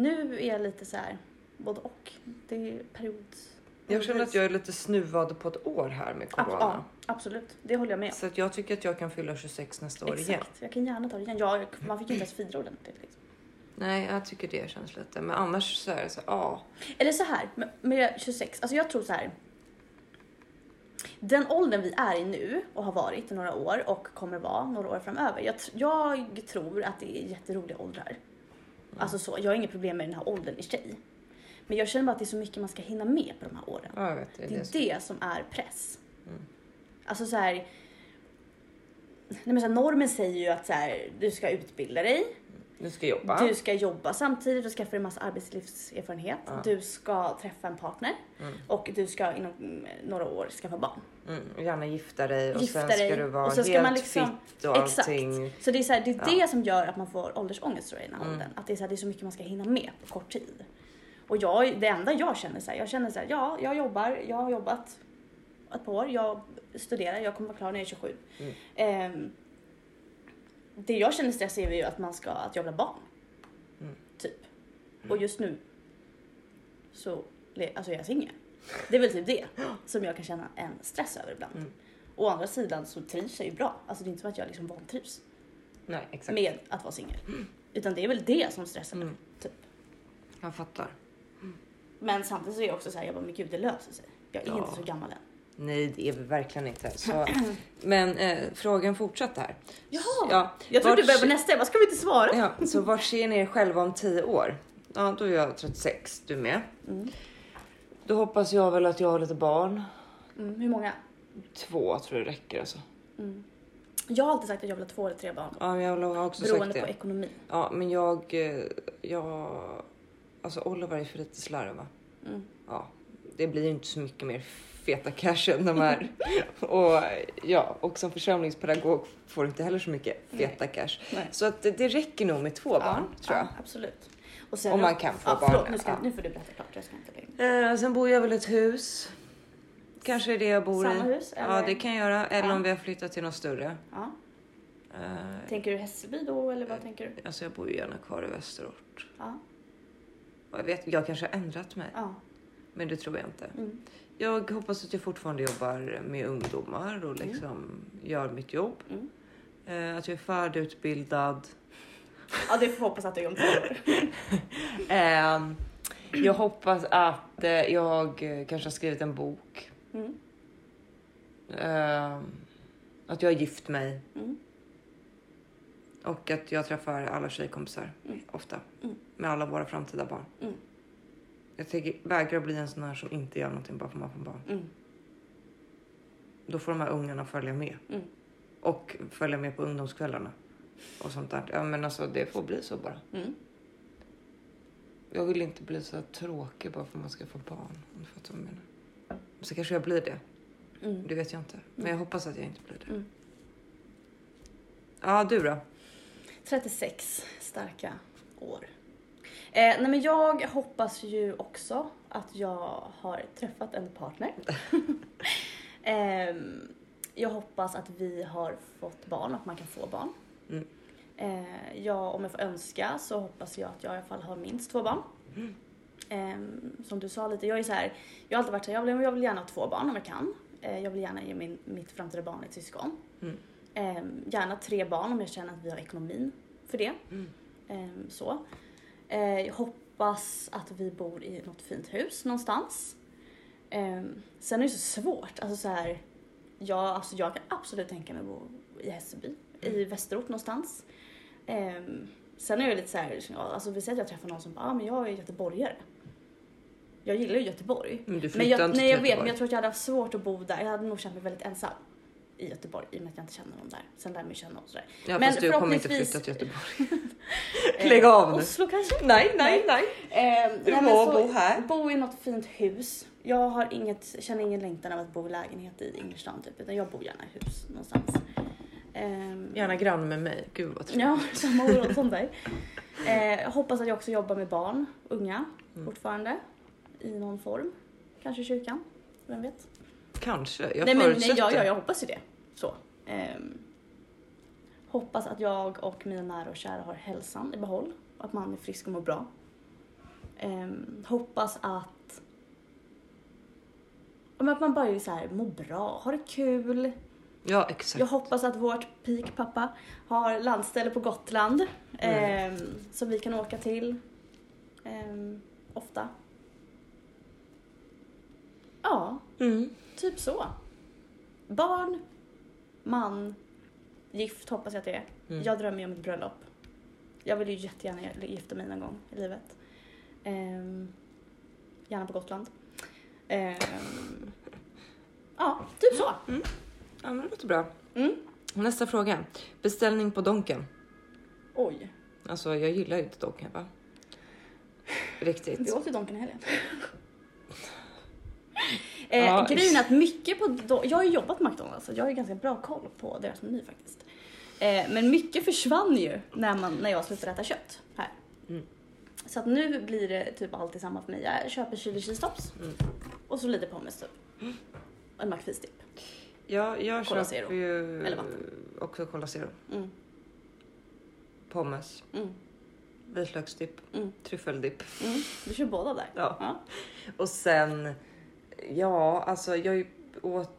Speaker 1: Nu är jag lite så här både och. Det är period.
Speaker 2: Jag känner att jag är lite snuvad på ett år här med
Speaker 1: Ab-
Speaker 2: corona.
Speaker 1: ja, absolut, det håller jag med om.
Speaker 2: Så att jag tycker att jag kan fylla 26 nästa år igen.
Speaker 1: Exakt, jag kan gärna ta det igen. Jag, man fick ju inte ens fira ordentligt liksom.
Speaker 2: Nej, jag tycker det känns lite. Men annars så är det så, ja.
Speaker 1: Eller så här, med- med 26, alltså jag tror så här. Den åldern vi är i nu och har varit i några år och kommer vara några år framöver. Jag, tr- jag tror att det är jätteroliga åldrar.
Speaker 2: Mm.
Speaker 1: Alltså så, jag har inget problem med den här åldern i sig. Men jag känner bara att det är så mycket man ska hinna med på de här åren.
Speaker 2: ja jag vet. Det Mm. är
Speaker 1: Det är
Speaker 2: det.
Speaker 1: det som är press. Alltså så här. Nej men så här, normen säger ju att så här, du ska utbilda dig,
Speaker 2: Du ska jobba.
Speaker 1: du ska jobba samtidigt, du ska skaffa dig en massa arbetslivserfarenhet,
Speaker 2: Ja.
Speaker 1: du ska träffa en partner
Speaker 2: Mm.
Speaker 1: och du ska inom mm, några år skaffa barn.
Speaker 2: Mm, och gärna gifta dig och
Speaker 1: Gifta
Speaker 2: sen
Speaker 1: dig,
Speaker 2: ska du vara
Speaker 1: och så ska
Speaker 2: helt
Speaker 1: man liksom-
Speaker 2: fit och
Speaker 1: Exakt.
Speaker 2: allting.
Speaker 1: Så det är, så här, det, är
Speaker 2: Ja.
Speaker 1: det som gör att man får åldersångest tror jag i den här
Speaker 2: Mm.
Speaker 1: åldern. Att det är, så här, det är så mycket man ska hinna med på kort tid. Och jag, det enda jag känner så här, jag känner så här, ja, jag jobbar, jag har jobbat ett par år, jag studerar, jag kommer vara klar när jag är 27.
Speaker 2: Mm.
Speaker 1: Ehm, det jag känner stress är ju att man ska, att jag vill ha barn.
Speaker 2: Mm.
Speaker 1: Typ. Och just nu så, le- alltså jag är singel. Det är väl typ det som jag kan känna en stress över ibland.
Speaker 2: Mm.
Speaker 1: Å andra sidan så trivs jag ju bra. Alltså det är inte som att jag liksom vantrivs
Speaker 2: Nej, exakt.
Speaker 1: med att vara singel. Utan det är väl det som stressar mig.
Speaker 2: Mm.
Speaker 1: Typ.
Speaker 2: Jag fattar.
Speaker 1: Men samtidigt så är jag också så här, jag bara, men gud det löser sig. Jag är
Speaker 2: Ja.
Speaker 1: inte så gammal än.
Speaker 2: Nej, det är vi verkligen
Speaker 1: [clears throat]
Speaker 2: inte. Så, men eh, frågan fortsatte här.
Speaker 1: Jaha!
Speaker 2: Ja,
Speaker 1: Jag trodde
Speaker 2: vart-
Speaker 1: du började på nästa, jag bara, ska vi inte svara?
Speaker 2: Ja, så vart ser ni er själva om 10 år? Ja, då är jag 36, du med.
Speaker 1: Mm.
Speaker 2: Då hoppas jag väl att jag har lite barn.
Speaker 1: Mm, hur många?
Speaker 2: Två tror jag räcker alltså.
Speaker 1: Mm. Jag har alltid sagt att jag vill ha två eller tre barn.
Speaker 2: Ja, men jag har också
Speaker 1: Beroende
Speaker 2: sagt
Speaker 1: på
Speaker 2: det.
Speaker 1: ekonomi.
Speaker 2: Ja, men jag, eh, jag... Alltså Oliver är fritidslärare va?
Speaker 1: Mm.
Speaker 2: Ja, det blir ju inte så mycket mer feta cash än de
Speaker 1: [laughs]
Speaker 2: här. och ja, och som församlingspedagog får du inte heller så mycket feta cash.
Speaker 1: Nej.
Speaker 2: Så att det, det räcker nog med två barn tror jag.
Speaker 1: Ja, absolut. Och sen,
Speaker 2: Om man kan få
Speaker 1: ja, Förlåt,
Speaker 2: barn,
Speaker 1: nu, ska,
Speaker 2: ja.
Speaker 1: nu får du berätta klart. Jag ska inte lägga in.
Speaker 2: Eh, sen bor jag väl i ett hus. Kanske är det jag bor
Speaker 1: Samma
Speaker 2: i.
Speaker 1: hus?
Speaker 2: Ja,
Speaker 1: eller?
Speaker 2: det kan jag göra. Eller
Speaker 1: Ja.
Speaker 2: om vi har flyttat till något större.
Speaker 1: ja.
Speaker 2: Eh,
Speaker 1: Tänker du Hässelby då eller vad tänker du?
Speaker 2: alltså jag bor ju gärna kvar i Västerort.
Speaker 1: Ja.
Speaker 2: Och Jag, vet, jag kanske har ändrat mig,
Speaker 1: ja.
Speaker 2: men det tror jag inte.
Speaker 1: Mm.
Speaker 2: Jag hoppas att jag fortfarande jobbar med ungdomar och liksom gör mitt jobb.
Speaker 1: Mm.
Speaker 2: Eh, att jag är färdigutbildad.
Speaker 1: ja, det får vi hoppas att du är om två år.
Speaker 2: Ehm, jag hoppas att eh, jag eh, kanske har skrivit en bok.
Speaker 1: Mm.
Speaker 2: Ehm, att jag har gift mig.
Speaker 1: Mm.
Speaker 2: Och att jag träffar alla tjejkompisar
Speaker 1: Mm.
Speaker 2: ofta.
Speaker 1: Mm.
Speaker 2: Med alla våra framtida barn.
Speaker 1: Mm.
Speaker 2: Jag tänker, vägrar bli en sån här som inte gör någonting bara för att man får barn.
Speaker 1: Mm.
Speaker 2: Då får de här ungarna följa med.
Speaker 1: Mm.
Speaker 2: Och följa med på ungdomskvällarna. Och sånt där. Ja, men alltså det får bli så bara.
Speaker 1: Mm.
Speaker 2: Jag vill inte bli så här tråkig bara för att man ska få barn. Om du fattar vad jag menar. Så kanske jag blir det.
Speaker 1: Mm.
Speaker 2: Det vet jag inte. Men jag hoppas att jag inte blir det.
Speaker 1: Mm.
Speaker 2: Ja, du då?
Speaker 1: 36 starka år. Eh, nej men jag hoppas ju också att jag har träffat en
Speaker 2: [laughs]
Speaker 1: partner. Ehm, jag hoppas att vi har fått barn och att man kan få barn.
Speaker 2: Mm.
Speaker 1: Eh, jag, om jag får önska så hoppas jag att jag i alla fall har minst två barn. Ehm, som du sa lite, jag är så här, jag har alltid varit så här, jag vill, jag vill gärna ha två barn om jag kan. Eh, jag vill gärna ge min, mitt framtida barn ett syskon.
Speaker 2: Mm.
Speaker 1: Ehm, gärna tre barn om jag känner att vi har ekonomin för det.
Speaker 2: Mm.
Speaker 1: Ehm, så. Eh, jag hoppas att vi bor i något fint hus någonstans. Ehm, sen är det så svårt. Alltså så här, jag, alltså jag kan absolut tänka mig att bo i Hässelby,
Speaker 2: Mm.
Speaker 1: i Västerort någonstans. Ehm, sen är jag lite så här, ja, alltså vi säger att jag träffar någon som bara, ah, men jag är göteborgare. Jag gillar ju Göteborg.
Speaker 2: Men du
Speaker 1: Men
Speaker 2: flyttar
Speaker 1: jag,
Speaker 2: inte
Speaker 1: nej,
Speaker 2: till
Speaker 1: jag vet, men
Speaker 2: Göteborg.
Speaker 1: jag tror att jag hade haft svårt att bo där. Jag hade nog känt mig väldigt ensam i Göteborg i och med att jag inte känner någon där. Sen lär man ju känna någon sådär.
Speaker 2: Ja,
Speaker 1: men
Speaker 2: fast du kommer inte
Speaker 1: förhoppningsvis-
Speaker 2: flytta till
Speaker 1: [laughs]
Speaker 2: Göteborg. Lägg av nu.
Speaker 1: Eh, Oslo kanske?
Speaker 2: Nej,
Speaker 1: nej,
Speaker 2: nej.
Speaker 1: Eh,
Speaker 2: Du
Speaker 1: nej, men
Speaker 2: må
Speaker 1: så-
Speaker 2: bo här.
Speaker 1: Bo i något fint hus. Jag har inget, känner ingen längtan av att bo i lägenhet i innerstan typ, utan jag bor gärna i hus någonstans. Ehm,
Speaker 2: Gärna granne med mig. Gud vad trevligt.
Speaker 1: Ja, [laughs] samma ord som dig. Eh, jag hoppas att jag också jobbar med barn, unga,
Speaker 2: Mm.
Speaker 1: fortfarande. I någon form. Kanske i kyrkan, vem vet?
Speaker 2: Kanske. Jag
Speaker 1: nej, men, nej,
Speaker 2: förutsätter.
Speaker 1: ja, ja, jag hoppas ju det. Så. Ehm, hoppas att jag och mina nära och kära har hälsan i behåll. Att man är frisk och mår bra. Ehm, hoppas att... ja, men Att man bara är så här, mår bra, har det kul.
Speaker 2: Ja, exakt.
Speaker 1: Jag hoppas att vårt peak pappa har landställe på Gotland
Speaker 2: Mm.
Speaker 1: ehm, som vi kan åka till ehm, ofta. Ja,
Speaker 2: Mm.
Speaker 1: Typ så. Barn, man, gift hoppas jag att det är.
Speaker 2: Mm.
Speaker 1: Jag drömmer ju om ett bröllop. Jag vill ju jättegärna gifta mig någon gång i livet. Ehm, gärna på Gotland. Ehm, ja, typ så.
Speaker 2: Ja, men det låter bra.
Speaker 1: Mm.
Speaker 2: Nästa fråga. Beställning på Donken.
Speaker 1: Oj,
Speaker 2: Alltså, jag gillar ju inte Donken, va? Riktigt.
Speaker 1: vi åt ju Donken i helgen. Eh,
Speaker 2: [laughs] Ja.
Speaker 1: Grejen är att mycket på... Don- Jag har ju jobbat på McDonalds så jag har ju ganska bra koll på deras meny faktiskt. Eh, men mycket försvann ju när, man, när jag slutade äta kött här.
Speaker 2: Mm.
Speaker 1: Så att nu blir det typ alltid samma för mig. Jag köper chili cheese tops
Speaker 2: Mm.
Speaker 1: och så lite pommes typ. Och en McFeast dip.
Speaker 2: Ja, jag
Speaker 1: Cola
Speaker 2: köper
Speaker 1: Zero.
Speaker 2: ju
Speaker 1: Eller vatten.
Speaker 2: också Cola Zero.
Speaker 1: Mm,
Speaker 2: Pommes,
Speaker 1: mm,
Speaker 2: vitlöksdipp,
Speaker 1: mm,
Speaker 2: tryffeldipp.
Speaker 1: mm. Du kör båda där.
Speaker 2: Ja.
Speaker 1: Ja.
Speaker 2: Och sen, ja, alltså jag åt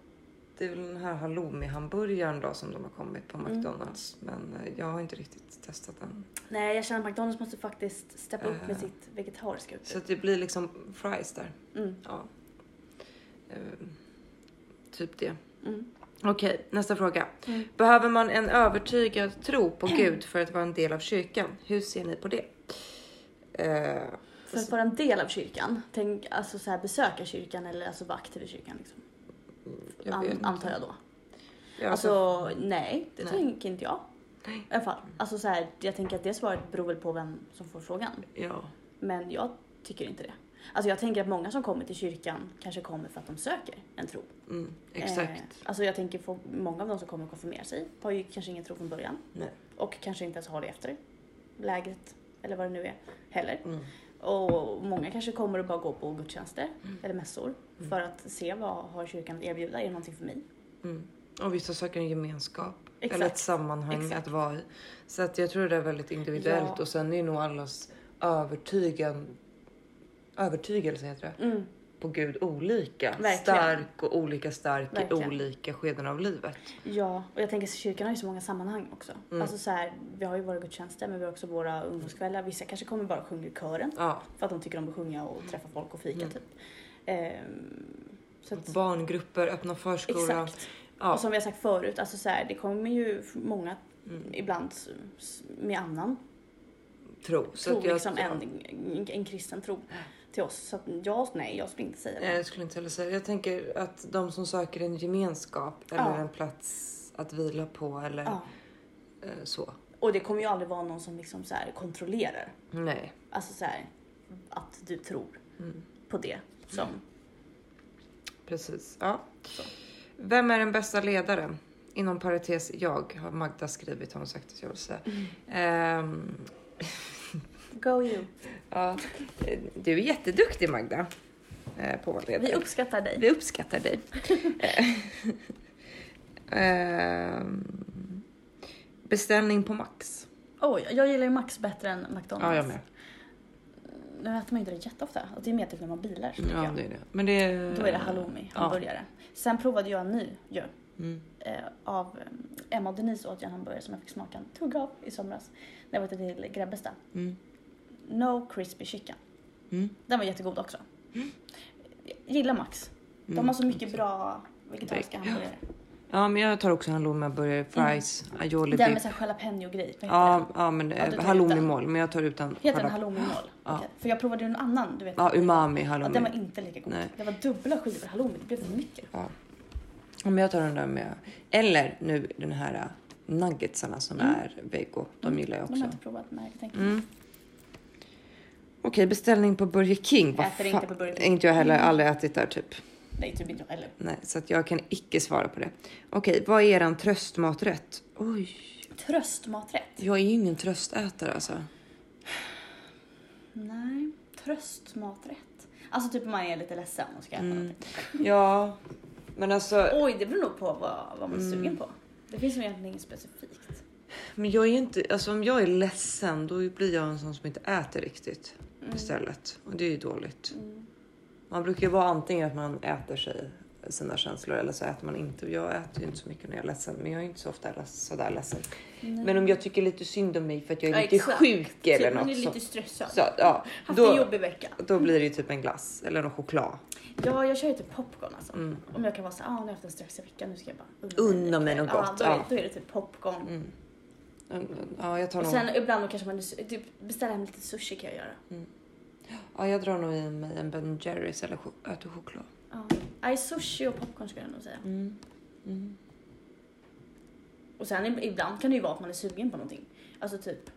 Speaker 2: Det är väl den här halloumi-hamburgaren då som de har kommit på
Speaker 1: Mm.
Speaker 2: McDonalds. Men eh, jag har inte riktigt testat den.
Speaker 1: Nej, jag känner att McDonalds måste faktiskt steppa upp med
Speaker 2: Eh.
Speaker 1: sitt vegetariska
Speaker 2: Så
Speaker 1: utbud.
Speaker 2: att det blir liksom fries där.
Speaker 1: Mm,
Speaker 2: Ja. Eh, typ det.
Speaker 1: mm.
Speaker 2: Okej, nästa fråga.
Speaker 1: Mm.
Speaker 2: Behöver man en övertygad tro på Gud för att vara en del av kyrkan? Hur ser ni på det? Eh,
Speaker 1: För att vara en del av kyrkan, tänk alltså så här, besöka kyrkan eller alltså vara aktiv i kyrkan liksom.
Speaker 2: jag
Speaker 1: An-
Speaker 2: vet inte.
Speaker 1: antar jag då.
Speaker 2: Ja, alltså,
Speaker 1: Alltså nej, det
Speaker 2: Nej.
Speaker 1: tänker inte jag.
Speaker 2: Nej.
Speaker 1: I alla fall. Alltså så här, jag tänker att det svaret beror väl på vem som får frågan.
Speaker 2: ja.
Speaker 1: Men jag tycker inte det. Alltså jag tänker att många som kommer till kyrkan kanske kommer för att de söker en tro.
Speaker 2: Mm, exakt.
Speaker 1: Eh, alltså jag tänker få, många av de som kommer och konfirmerar sig har ju kanske ingen tro från början.
Speaker 2: Nej.
Speaker 1: Och kanske inte ens har det efter lägret eller vad det nu är heller.
Speaker 2: Mm.
Speaker 1: Och många kanske kommer och bara går på gudstjänster
Speaker 2: Mm.
Speaker 1: eller mässor för att se vad har kyrkan att erbjuda. Är det någonting för mig?
Speaker 2: Mm. Och vissa söker en gemenskap
Speaker 1: Exakt.
Speaker 2: eller ett sammanhang
Speaker 1: Exakt.
Speaker 2: att vara i. Så att jag tror det är väldigt individuellt
Speaker 1: Ja.
Speaker 2: och sen är nog allas övertygan, övertygelse heter det,
Speaker 1: Mm.
Speaker 2: på Gud olika.
Speaker 1: Verkligen.
Speaker 2: Stark och olika stark
Speaker 1: Verkligen.
Speaker 2: i olika skeden av livet.
Speaker 1: Ja, och jag tänker att kyrkan har ju så många sammanhang också.
Speaker 2: Mm.
Speaker 1: Alltså så här, vi har ju våra gudstjänster men vi har också våra ungdomskvällar. Vissa kanske kommer bara och sjunger i kören
Speaker 2: Ja,
Speaker 1: för att de tycker om att sjunga och träffa folk och fika
Speaker 2: Mm.
Speaker 1: typ. Ehm, så att,
Speaker 2: barngrupper, öppna förskola.
Speaker 1: exakt.
Speaker 2: Ja.
Speaker 1: Och som vi har sagt förut, alltså så här, det kommer ju f- många
Speaker 2: Mm.
Speaker 1: ibland s- s- med annan
Speaker 2: Tro. Så
Speaker 1: tro,
Speaker 2: att jag,
Speaker 1: liksom en, en, en kristen tro till oss. Så att jag, nej, jag skulle inte säga
Speaker 2: Nej,
Speaker 1: det.
Speaker 2: jag skulle inte heller säga. Jag tänker att de som söker en gemenskap eller
Speaker 1: Ja.
Speaker 2: en plats att vila på eller
Speaker 1: Ja.
Speaker 2: eh, så.
Speaker 1: Och det kommer ju aldrig vara någon som liksom så här kontrollerar.
Speaker 2: Nej.
Speaker 1: Alltså så här, att du tror
Speaker 2: Mm.
Speaker 1: på det som
Speaker 2: Precis. Ja. Vem är den bästa ledaren? Inom parentes jag har Magda skrivit, har hon sagt att jag vill säga.
Speaker 1: Mm.
Speaker 2: Ehm,
Speaker 1: Go you.
Speaker 2: ja. Du är jätteduktig Magda eh, på att vara
Speaker 1: Vi
Speaker 2: ledare.
Speaker 1: uppskattar dig.
Speaker 2: Vi uppskattar dig. [laughs] Ehm, beställning på Max.
Speaker 1: Oj, jag gillar ju Max bättre än McDonalds.
Speaker 2: Ja, jag med.
Speaker 1: Nu äter man ju inte det jätteofta. Och det är mer typ när man bilar. så tycker
Speaker 2: Ja,
Speaker 1: jag.
Speaker 2: det är det. Men det är...
Speaker 1: Då är det halloumi,
Speaker 2: Ja.
Speaker 1: hamburgare. Sen provade jag en ny ju.
Speaker 2: Mm.
Speaker 1: eh, Av eh, Emma och Denise åt jag en hamburgare som jag fick smaka en tugga av i somras. När jag var till Grebbestad.
Speaker 2: Mm.
Speaker 1: No crispy chicken.
Speaker 2: Mm.
Speaker 1: Den var jättegod också. Jag gillar Max. De har så mycket bra vegetariska
Speaker 2: Mm. Ja.
Speaker 1: hamburgare.
Speaker 2: Ja, men jag tar också halloumiburgare, fries, aioli
Speaker 1: Mm. Den
Speaker 2: dip.
Speaker 1: med så här jalapeno-grej. Vad heter
Speaker 2: Ja, ja, men
Speaker 1: Ja, du tar
Speaker 2: ja,
Speaker 1: ut
Speaker 2: halloumi-moll. Men jag tar utan
Speaker 1: den? Heter den
Speaker 2: jalap-
Speaker 1: halloumi-noll?
Speaker 2: Ja.
Speaker 1: Okej. För jag provade ju en annan, du vet.
Speaker 2: Ja, umami
Speaker 1: Ja,
Speaker 2: halloumi.
Speaker 1: den var inte lika god.
Speaker 2: Nej.
Speaker 1: Det var dubbla skivor halloumi, det blev för mycket.
Speaker 2: Ja. Ja, Men jag tar den där med. Eller nu den här äh, nuggetsarna som
Speaker 1: Mm.
Speaker 2: är vego. De gillar jag
Speaker 1: De har
Speaker 2: också.
Speaker 1: jag inte provat, men jag tänker
Speaker 2: Mm. Okej, beställning på Burger King. Vad
Speaker 1: Äter
Speaker 2: fan-
Speaker 1: inte på Burger King. Mm.
Speaker 2: Inte jag heller. Aldrig ätit där typ.
Speaker 1: Nej, typ inte jag heller.
Speaker 2: Nej, så att jag kan icke svara på det. Okej, vad är eran tröstmaträtt? Oj,
Speaker 1: Tröstmaträtt?
Speaker 2: jag är ju ingen tröstätare alltså.
Speaker 1: Nej. Tröstmaträtt? Alltså typ om man är lite ledsen och ska äta
Speaker 2: Mm.
Speaker 1: någonting.
Speaker 2: Ja, men alltså.
Speaker 1: Oj, det beror nog på vad, vad man är
Speaker 2: Mm.
Speaker 1: sugen på. Det finns nog egentligen inget specifikt.
Speaker 2: Men jag är inte, alltså om jag är ledsen då blir jag en sån som inte äter riktigt
Speaker 1: Mm.
Speaker 2: istället. Och det är ju dåligt.
Speaker 1: Mm.
Speaker 2: Man brukar ju vara antingen att man äter sig sina känslor eller så äter man inte. Och jag äter ju inte så mycket när jag är ledsen. Men jag är inte så ofta leds- sådär ledsen.
Speaker 1: Nej.
Speaker 2: Men om jag tycker lite synd om mig för att jag är
Speaker 1: Mm. Ja,
Speaker 2: lite
Speaker 1: exakt.
Speaker 2: sjuk eller
Speaker 1: typ, man är
Speaker 2: något
Speaker 1: lite
Speaker 2: så,
Speaker 1: stressad.
Speaker 2: så ja,
Speaker 1: Haft en
Speaker 2: då,
Speaker 1: jobbig vecka.
Speaker 2: då blir det ju typ en glass eller någon choklad.
Speaker 1: Ja, jag kör ju typ popcorn alltså.
Speaker 2: Mm.
Speaker 1: Om jag kan vara så ah, nu har jag haft en stressig vecka, nu ska jag bara
Speaker 2: Unna mig något
Speaker 1: ja,
Speaker 2: gott,
Speaker 1: Då, är,
Speaker 2: ja.
Speaker 1: då är det typ popcorn.
Speaker 2: Mm. Mm, Ja, jag tar
Speaker 1: Och
Speaker 2: nog,
Speaker 1: sen ibland då kanske man är- typ, beställer hem lite sushi kan jag göra.
Speaker 2: ja, jag drar nog i mig en Ben Jerrys eller cho- äter choklad.
Speaker 1: Ja. Nej, sushi och popcorn skulle jag nog säga.
Speaker 2: Mm. Mm.
Speaker 1: Och sen ib- ibland kan det ju vara att man är sugen på någonting. Alltså typ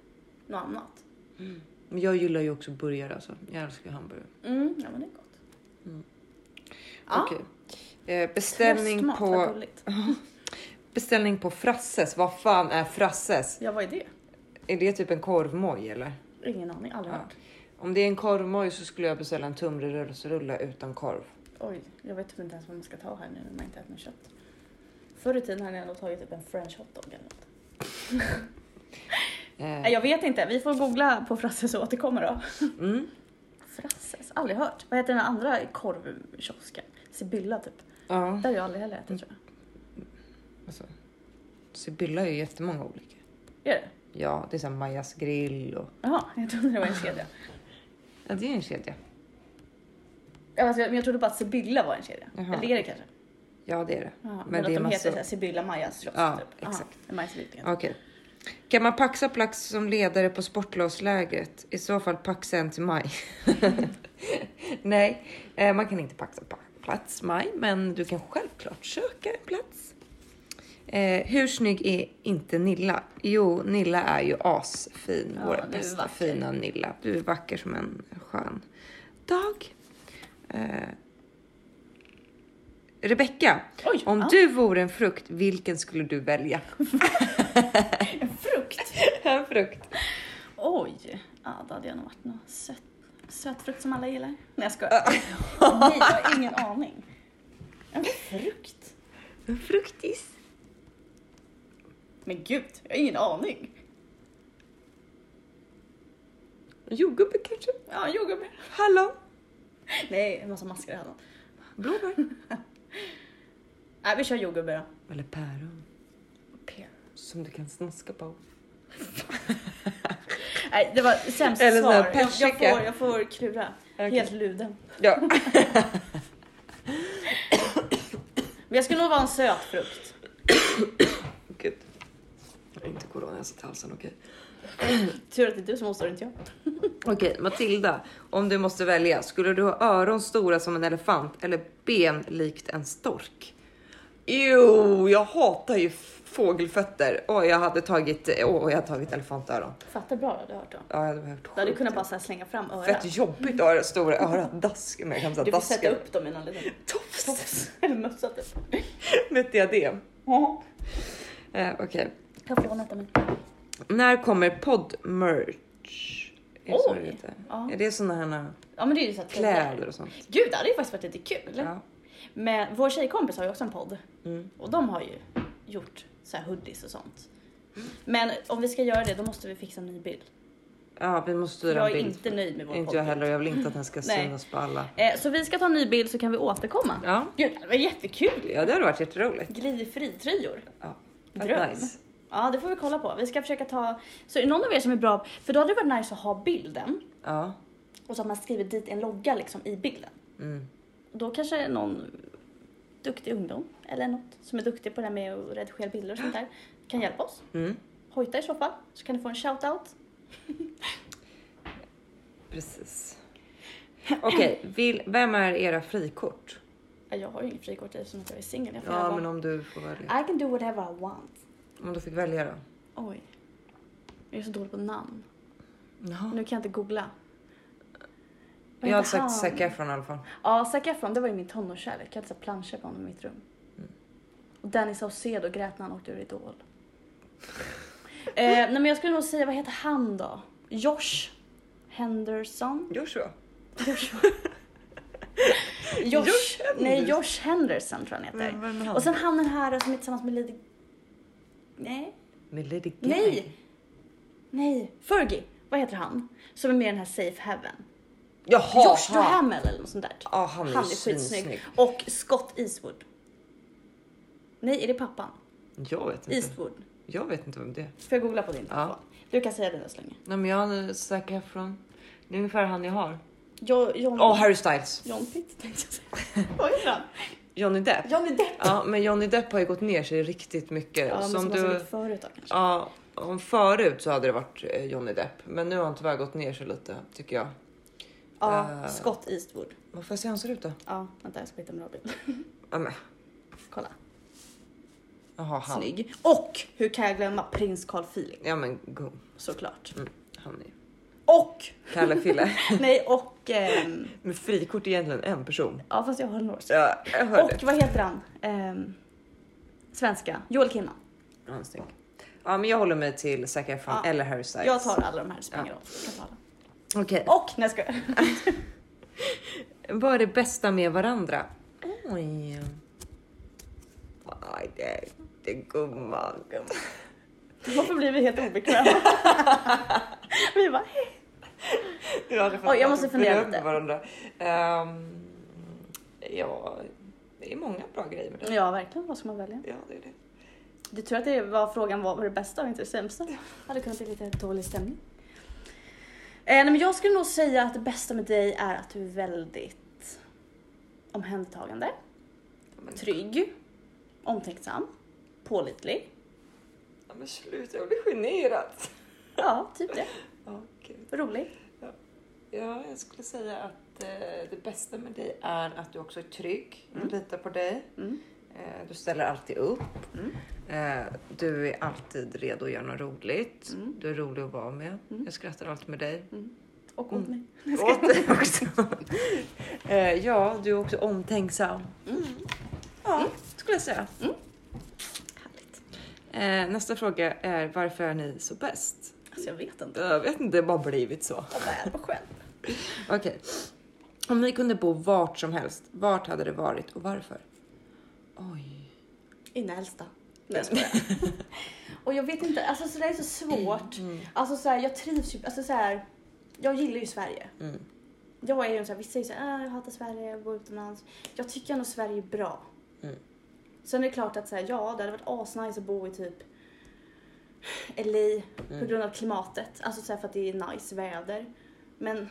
Speaker 1: något annat.
Speaker 2: Men jag gillar ju också burgare alltså. Jag älskar ju hamburgare.
Speaker 1: Mm, ja men det är gott.
Speaker 2: Mm.
Speaker 1: Ja,
Speaker 2: Okej. Eh, beställning
Speaker 1: tröstmat, vad
Speaker 2: på,
Speaker 1: gulligt.
Speaker 2: beställning på Frasses. Vad fan är Frasses?
Speaker 1: Ja, vad är det?
Speaker 2: Är det typ en korvmoj eller?
Speaker 1: Ingen aning, aldrig
Speaker 2: Ja.
Speaker 1: hört.
Speaker 2: Om det är en korvmoj så skulle jag beställa en tunnbrödsrulle utan korv.
Speaker 1: Oj, jag vet typ inte ens vad man ska ta här nu när man inte äter något kött. Förr i tiden hade jag nog tagit typ en french hotdog eller något.
Speaker 2: Eh,
Speaker 1: Nej, jag vet inte. Vi får googla på Frasses och återkommer då.
Speaker 2: mm.
Speaker 1: Frasses? Aldrig hört. Vad heter den andra korvkiosken? Sibylla typ.
Speaker 2: Ja.
Speaker 1: Där har jag aldrig heller ätit tror jag.
Speaker 2: Alltså, Sibylla är ju jättemånga olika.
Speaker 1: Är det?
Speaker 2: Ja, det är så här Majas grill och...
Speaker 1: Jaha, jag trodde det var en kedja.
Speaker 2: Ja, det är en kedja.
Speaker 1: Ja, Alltså, jag- men jag trodde bara att Sibylla var en kedja.
Speaker 2: Jaha.
Speaker 1: Eller är det kanske?
Speaker 2: Ja, det är det.
Speaker 1: Jaha, men,
Speaker 2: Men det
Speaker 1: att
Speaker 2: är
Speaker 1: de
Speaker 2: massa-
Speaker 1: heter så här Sibylla Majas slott.
Speaker 2: Ja,
Speaker 1: typ. Jaha,
Speaker 2: exakt.
Speaker 1: Majas slott.
Speaker 2: Okej. Kan man paxa Plax som ledare på sportlovslägret? I så fall paxa en till maj. [laughs] Nej, eh, man kan inte paxa pa- plats maj, men du kan självklart söka en plats. Eh, hur snygg är inte Nilla? Jo, Nilla är ju asfin.
Speaker 1: Ja,
Speaker 2: Vår
Speaker 1: du är
Speaker 2: bästa
Speaker 1: vacker.
Speaker 2: fina Nilla. Du är vacker som en skön dag. Eh, Rebecka,
Speaker 1: Oj,
Speaker 2: om
Speaker 1: ja.
Speaker 2: du vore en frukt, vilken skulle du välja?
Speaker 1: [laughs] En frukt.
Speaker 2: En frukt.
Speaker 1: Oj, ja, då hade jag nog varit någon söt, sötfrukt som alla gillar. Nej jag skojar. Nej, jag har ingen aning. En frukt?
Speaker 2: En fruktis.
Speaker 1: Men gud, jag har ingen aning.
Speaker 2: Jordgubbe kanske?
Speaker 1: Ja, jordgubbe.
Speaker 2: Hallon?
Speaker 1: Nej, en massa maskar hade han.
Speaker 2: Blåbär?
Speaker 1: [laughs] Nej, vi kör jordgubbe då.
Speaker 2: Eller päron.
Speaker 1: P.
Speaker 2: Som du kan snaska på.
Speaker 1: Nej, det var sämst
Speaker 2: Eller sån
Speaker 1: svar.
Speaker 2: här
Speaker 1: Jag, jag,
Speaker 2: persika.
Speaker 1: får, jag får klura.
Speaker 2: Okej.
Speaker 1: Helt luden.
Speaker 2: Ja.
Speaker 1: Men jag skulle nog vara en sötfrukt.
Speaker 2: Gud. Jag har inte corona, jag satt i halsen, okej.
Speaker 1: Tur att det är du som hostar, inte jag.
Speaker 2: Okej, Matilda. Om du måste välja, skulle du ha öron stora som en elefant eller ben likt en stork? Jo, jag hatar ju f- fågelfötter. Och jag hade tagit, åh, jag hade tagit elefantöron.
Speaker 1: Fattar bra då, du har hört då.
Speaker 2: Ja, jag hade behövt
Speaker 1: Du hade
Speaker 2: sjukt.
Speaker 1: kunnat bara så här slänga fram örat.
Speaker 2: Fett jobbigt öra, stora örat, dask. Men jag kan säga
Speaker 1: Du får
Speaker 2: dask.
Speaker 1: sätta upp dem i någon liten
Speaker 2: Tofs
Speaker 1: tofs [laughs] eller mössa typ.
Speaker 2: med ett diadem.
Speaker 1: Ja.
Speaker 2: Eh, Okej.
Speaker 1: Jag får vänta men.
Speaker 2: När kommer podd-merch? Är det så
Speaker 1: Oj!
Speaker 2: det heter?
Speaker 1: Ja.
Speaker 2: Är det sådana här
Speaker 1: ja men det är ju så att
Speaker 2: kläder och sånt?
Speaker 1: Gud, det hade ju faktiskt varit lite kul.
Speaker 2: Ja.
Speaker 1: Men vår tjejkompis har ju också en podd
Speaker 2: Mm.
Speaker 1: och de har ju gjort så här hoodies och sånt. Men om vi ska göra det då måste vi fixa en ny bild.
Speaker 2: ja, vi måste
Speaker 1: För
Speaker 2: styra
Speaker 1: jag
Speaker 2: en
Speaker 1: är
Speaker 2: bild.
Speaker 1: inte nöjd med vår
Speaker 2: Inte jag
Speaker 1: podd.
Speaker 2: heller. Jag vill inte att den ska
Speaker 1: Nej.
Speaker 2: synas på alla.
Speaker 1: Eh, så vi ska ta en ny bild så kan vi återkomma.
Speaker 2: Ja,
Speaker 1: Gud, det var jättekul!
Speaker 2: ja det hade varit jätteroligt.
Speaker 1: Glidfri-tröjor.
Speaker 2: Ja. Fett
Speaker 1: Dröm.
Speaker 2: Nice.
Speaker 1: Ja, det får vi kolla på. Vi ska försöka ta... Så är det någon av er som är bra... För då hade det varit nice att ha bilden
Speaker 2: Ja.
Speaker 1: och så att man skriver dit en logga liksom i bilden.
Speaker 2: Mm.
Speaker 1: Och Då kanske någon duktig ungdom eller något som är duktig på det här med att redigera bilder och sånt där kan hjälpa oss.
Speaker 2: Mm.
Speaker 1: Hojta i så fall så kan du få en shout-out. [clears throat]
Speaker 2: Precis. Okej, vill- vem är era frikort?
Speaker 1: Ja, Jag har ju inget frikort eftersom att jag är singel. Jag får göra
Speaker 2: Ja,
Speaker 1: vad-
Speaker 2: men om du får välja.
Speaker 1: I can do whatever I want.
Speaker 2: Om du fick välja då?
Speaker 1: Oj. Jag är så dålig på namn.
Speaker 2: Jaha.
Speaker 1: Nu kan jag inte googla. Vad
Speaker 2: Jag hade
Speaker 1: heter han?
Speaker 2: sagt Zac Efron i alla fall.
Speaker 1: Ja, Zac Efron, det var ju min tonårskärlek. Jag hade så här planscher på honom i mitt rum.
Speaker 2: Mm.
Speaker 1: Och Danny Saucedo grät när han åkte ur Idol. eh, nej men jag skulle nog säga, vad heter han då? Josh Henderson?
Speaker 2: [laughs] Joshua?
Speaker 1: Josh,
Speaker 2: Josh
Speaker 1: nej,
Speaker 2: Henderson.
Speaker 1: Josh Henderson tror jag han heter. Och sen han den här som är tillsammans med Lady... Nej.
Speaker 2: Med Lady Gaga?
Speaker 1: Nej! Nej, Fergie. Vad heter han? Som är med i den här Safe Heaven.
Speaker 2: Jaha!
Speaker 1: Josh
Speaker 2: han.
Speaker 1: Duhamel eller något sånt där.
Speaker 2: Ja, han är
Speaker 1: Han är
Speaker 2: ju skitsnygg.
Speaker 1: skitsnygg. Och Scott Eastwood. Nej, är det pappan?
Speaker 2: Jag vet inte.
Speaker 1: Eastwood.
Speaker 2: Jag vet inte vem det är.
Speaker 1: Får jag googla på din
Speaker 2: Ja.
Speaker 1: telefon? Du kan säga dina så länge.
Speaker 2: Nej, men jag är Zac Efron. Det är ungefär han jag har.
Speaker 1: Jo, John,
Speaker 2: Åh, Harry Styles.
Speaker 1: John Pitt tänkte jag säga. [laughs] Vad heter han?
Speaker 2: Johnny Depp.
Speaker 1: Johnny Depp.
Speaker 2: Ja, men Johnny Depp har ju gått ner sig riktigt mycket.
Speaker 1: Ja, men
Speaker 2: Eh, som
Speaker 1: som du...
Speaker 2: du...
Speaker 1: Lite förut då, kanske.
Speaker 2: Ja, om förut så hade det varit eh, Johnny Depp, men nu har han tyvärr gått ner sig lite tycker jag.
Speaker 1: Ja,
Speaker 2: Eh.
Speaker 1: Scott Eastwood.
Speaker 2: Vad får jag se hur han ser ut då?
Speaker 1: Ja, vänta jag ska hitta en bra bild.
Speaker 2: Ja, men,
Speaker 1: Kolla.
Speaker 2: jaha, han.
Speaker 1: Snygg. Och hur kan jag glömma prins Carl Philip?
Speaker 2: Ja, men gum.
Speaker 1: Såklart.
Speaker 2: Han är
Speaker 1: Och,
Speaker 2: Kalle
Speaker 1: [laughs]
Speaker 2: Fille
Speaker 1: nej och, ehm,
Speaker 2: med frikort är egentligen en person.
Speaker 1: ja fast jag har några år sedan.
Speaker 2: Ja, jag hörde.
Speaker 1: Och vad heter han? Ehm, svenska. Joel Kinnaman.
Speaker 2: Ja, han är snygg. Ja, men jag håller mig till Zac Efron
Speaker 1: Ja.
Speaker 2: eller Harry Styles.
Speaker 1: Jag tar alla de här, det spelar ingen roll. Jag tar alla.
Speaker 2: Okej.
Speaker 1: Och, när ska [laughs] jag
Speaker 2: Vad är det bästa med varandra? Oj. Aj, det, det är [laughs] gumman.
Speaker 1: Varför blir vi helt
Speaker 2: [laughs]
Speaker 1: obekväma? vi bara, hej. Oj, jag måste fundera lite.
Speaker 2: Varandra. Ehm, ja, det är många bra grejer med det.
Speaker 1: Ja verkligen, vad ska man välja?
Speaker 2: Ja, det är det.
Speaker 1: Det är tur att det var frågan var, var det bästa och inte det sämsta. Det hade kunnat bli lite dålig stämning. Eh, nej, men jag skulle nog säga att det bästa med dig är att du är väldigt omhändertagande,
Speaker 2: Ja, men,
Speaker 1: trygg, omtänksam, pålitlig.
Speaker 2: ja, men sluta, jag blir generad.
Speaker 1: Ja, typ det.
Speaker 2: Ja, gud.
Speaker 1: Rolig.
Speaker 2: ja, jag skulle säga att eh, det bästa med dig är att du också är trygg. Jag
Speaker 1: Mm.
Speaker 2: litar på dig.
Speaker 1: Mm.
Speaker 2: Eh, du ställer alltid upp.
Speaker 1: Mm.
Speaker 2: Eh, du är alltid redo att göra något roligt.
Speaker 1: Mm.
Speaker 2: Du är rolig att vara med.
Speaker 1: Mm.
Speaker 2: Jag skrattar alltid med dig.
Speaker 1: Och åt
Speaker 2: Mm.
Speaker 1: mig.
Speaker 2: Åt dig också. [laughs] eh, ja, du är också omtänksam.
Speaker 1: Mm.
Speaker 2: Ja, skulle jag säga.
Speaker 1: Härligt.
Speaker 2: Eh, nästa fråga är varför är ni så bäst?
Speaker 1: Alltså jag vet inte.
Speaker 2: Jag vet inte, det har bara blivit så.
Speaker 1: Vad är vad skönt.
Speaker 2: Okej. Om ni kunde bo vart som helst, vart hade det varit och varför? Oj.
Speaker 1: I Nälsta. Nej jag skojar. [laughs] Och jag vet inte, alltså så det är så svårt.
Speaker 2: Mm,
Speaker 1: Alltså så här, jag trivs ju, alltså så här, jag gillar ju Sverige.
Speaker 2: Mm.
Speaker 1: Jag är ju en så här, vissa säger så här, "Ah, jag hatar Sverige, jag bor utomlands. Jag tycker ändå Sverige är bra.
Speaker 2: Mm.
Speaker 1: Sen är det klart att så här, ja, det hade varit asnice att bo i typ LA på
Speaker 2: Mm.
Speaker 1: grund av klimatet. Alltså så här, för att det är nice väder. Men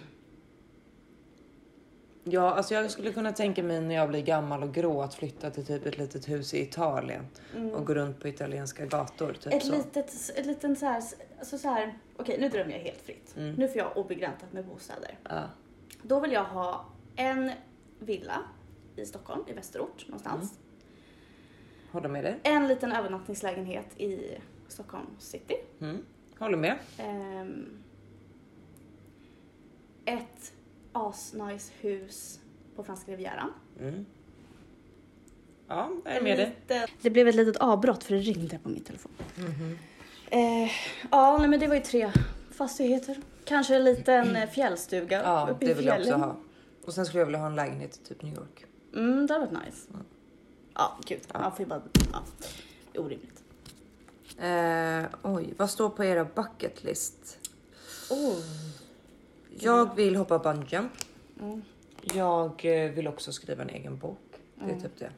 Speaker 2: Ja, alltså jag skulle kunna tänka mig när jag blir gammal och grå att flytta till typ ett litet hus i Italien
Speaker 1: mm,
Speaker 2: och gå runt på italienska gator. Typ
Speaker 1: ett
Speaker 2: så.
Speaker 1: litet, ett liten så här, alltså så här, okej nu drömmer jag helt fritt.
Speaker 2: Mm.
Speaker 1: Nu får jag obegränsat med bostäder.
Speaker 2: Ja.
Speaker 1: Då vill jag ha en villa i Stockholm, i västerort någonstans.
Speaker 2: Håller med dig.
Speaker 1: En liten övernattningslägenhet i Stockholm city.
Speaker 2: Mm. Håller med.
Speaker 1: Ehm, ett asnice hus på franska rivieran.
Speaker 2: Mm. Ja, jag är med dig.
Speaker 1: Lite- Det blev ett litet avbrott för det ringde på min telefon. Eh, ja, nej, men det var ju tre fastigheter. Kanske en liten eh, fjällstuga
Speaker 2: Mm. Ja,
Speaker 1: uppe i
Speaker 2: det vill jag också
Speaker 1: fjällen.
Speaker 2: ha. Och sen skulle jag vilja ha en lägenhet i typ New York.
Speaker 1: Mm, det hade varit nice.
Speaker 2: Mm.
Speaker 1: Ja, gud.
Speaker 2: Ja.
Speaker 1: Man får ju bara... Ja. Orimligt.
Speaker 2: Eh, oj, vad står på era bucket list?
Speaker 1: Oh.
Speaker 2: Jag vill hoppa bungyjump.
Speaker 1: Mm.
Speaker 2: Jag eh, vill också skriva en egen bok. Det är
Speaker 1: Mm.
Speaker 2: typ det.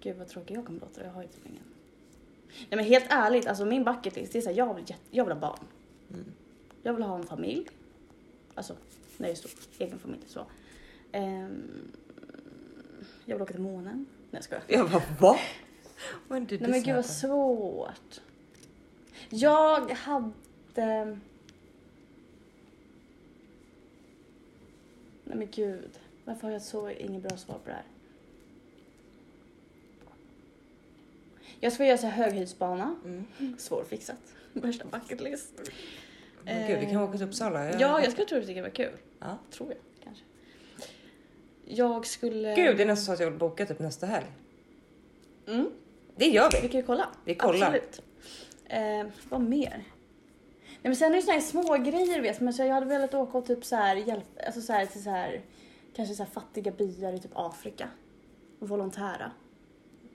Speaker 1: Gud vad tråkig jag kommer låta. Jag har ju typ ingen. Nej men helt ärligt, alltså min bucket list, det är såhär, jag, vill jätte- jag vill ha barn.
Speaker 2: Mm.
Speaker 1: Jag vill ha en familj. Alltså, när jag är stor. Egen familj så. Ehm, jag vill åka till månen. Nej jag skojar.
Speaker 2: Jag bara va? When did
Speaker 1: Nej men
Speaker 2: this
Speaker 1: gud vad
Speaker 2: happen?
Speaker 1: svårt. Jag hade... Nej men gud. Varför har jag så inget bra svar på det här? Jag skulle göra så här höghöjdsbana.
Speaker 2: Mm.
Speaker 1: Svårfixat. [laughs] Värsta bucket list.
Speaker 2: Men gud, vi kan åka till Uppsala.
Speaker 1: Eh, Ja,
Speaker 2: Jag-
Speaker 1: jag skulle tro att det var kul.
Speaker 2: Ja.
Speaker 1: Tror jag kanske. Jag skulle...
Speaker 2: Gud, det är nästan så att jag vill boka typ nästa helg.
Speaker 1: Mm.
Speaker 2: Det gör
Speaker 1: Vi
Speaker 2: vi.
Speaker 1: kan ju kolla.
Speaker 2: Vi kollar.
Speaker 1: Absolut. Eh, vad mer? Nej, men sen är det såna här små grejer vet men så jag hade velat åka och typ så här, hjälp, alltså så här, till så här, kanske så här fattiga byar i typ Afrika och volontära.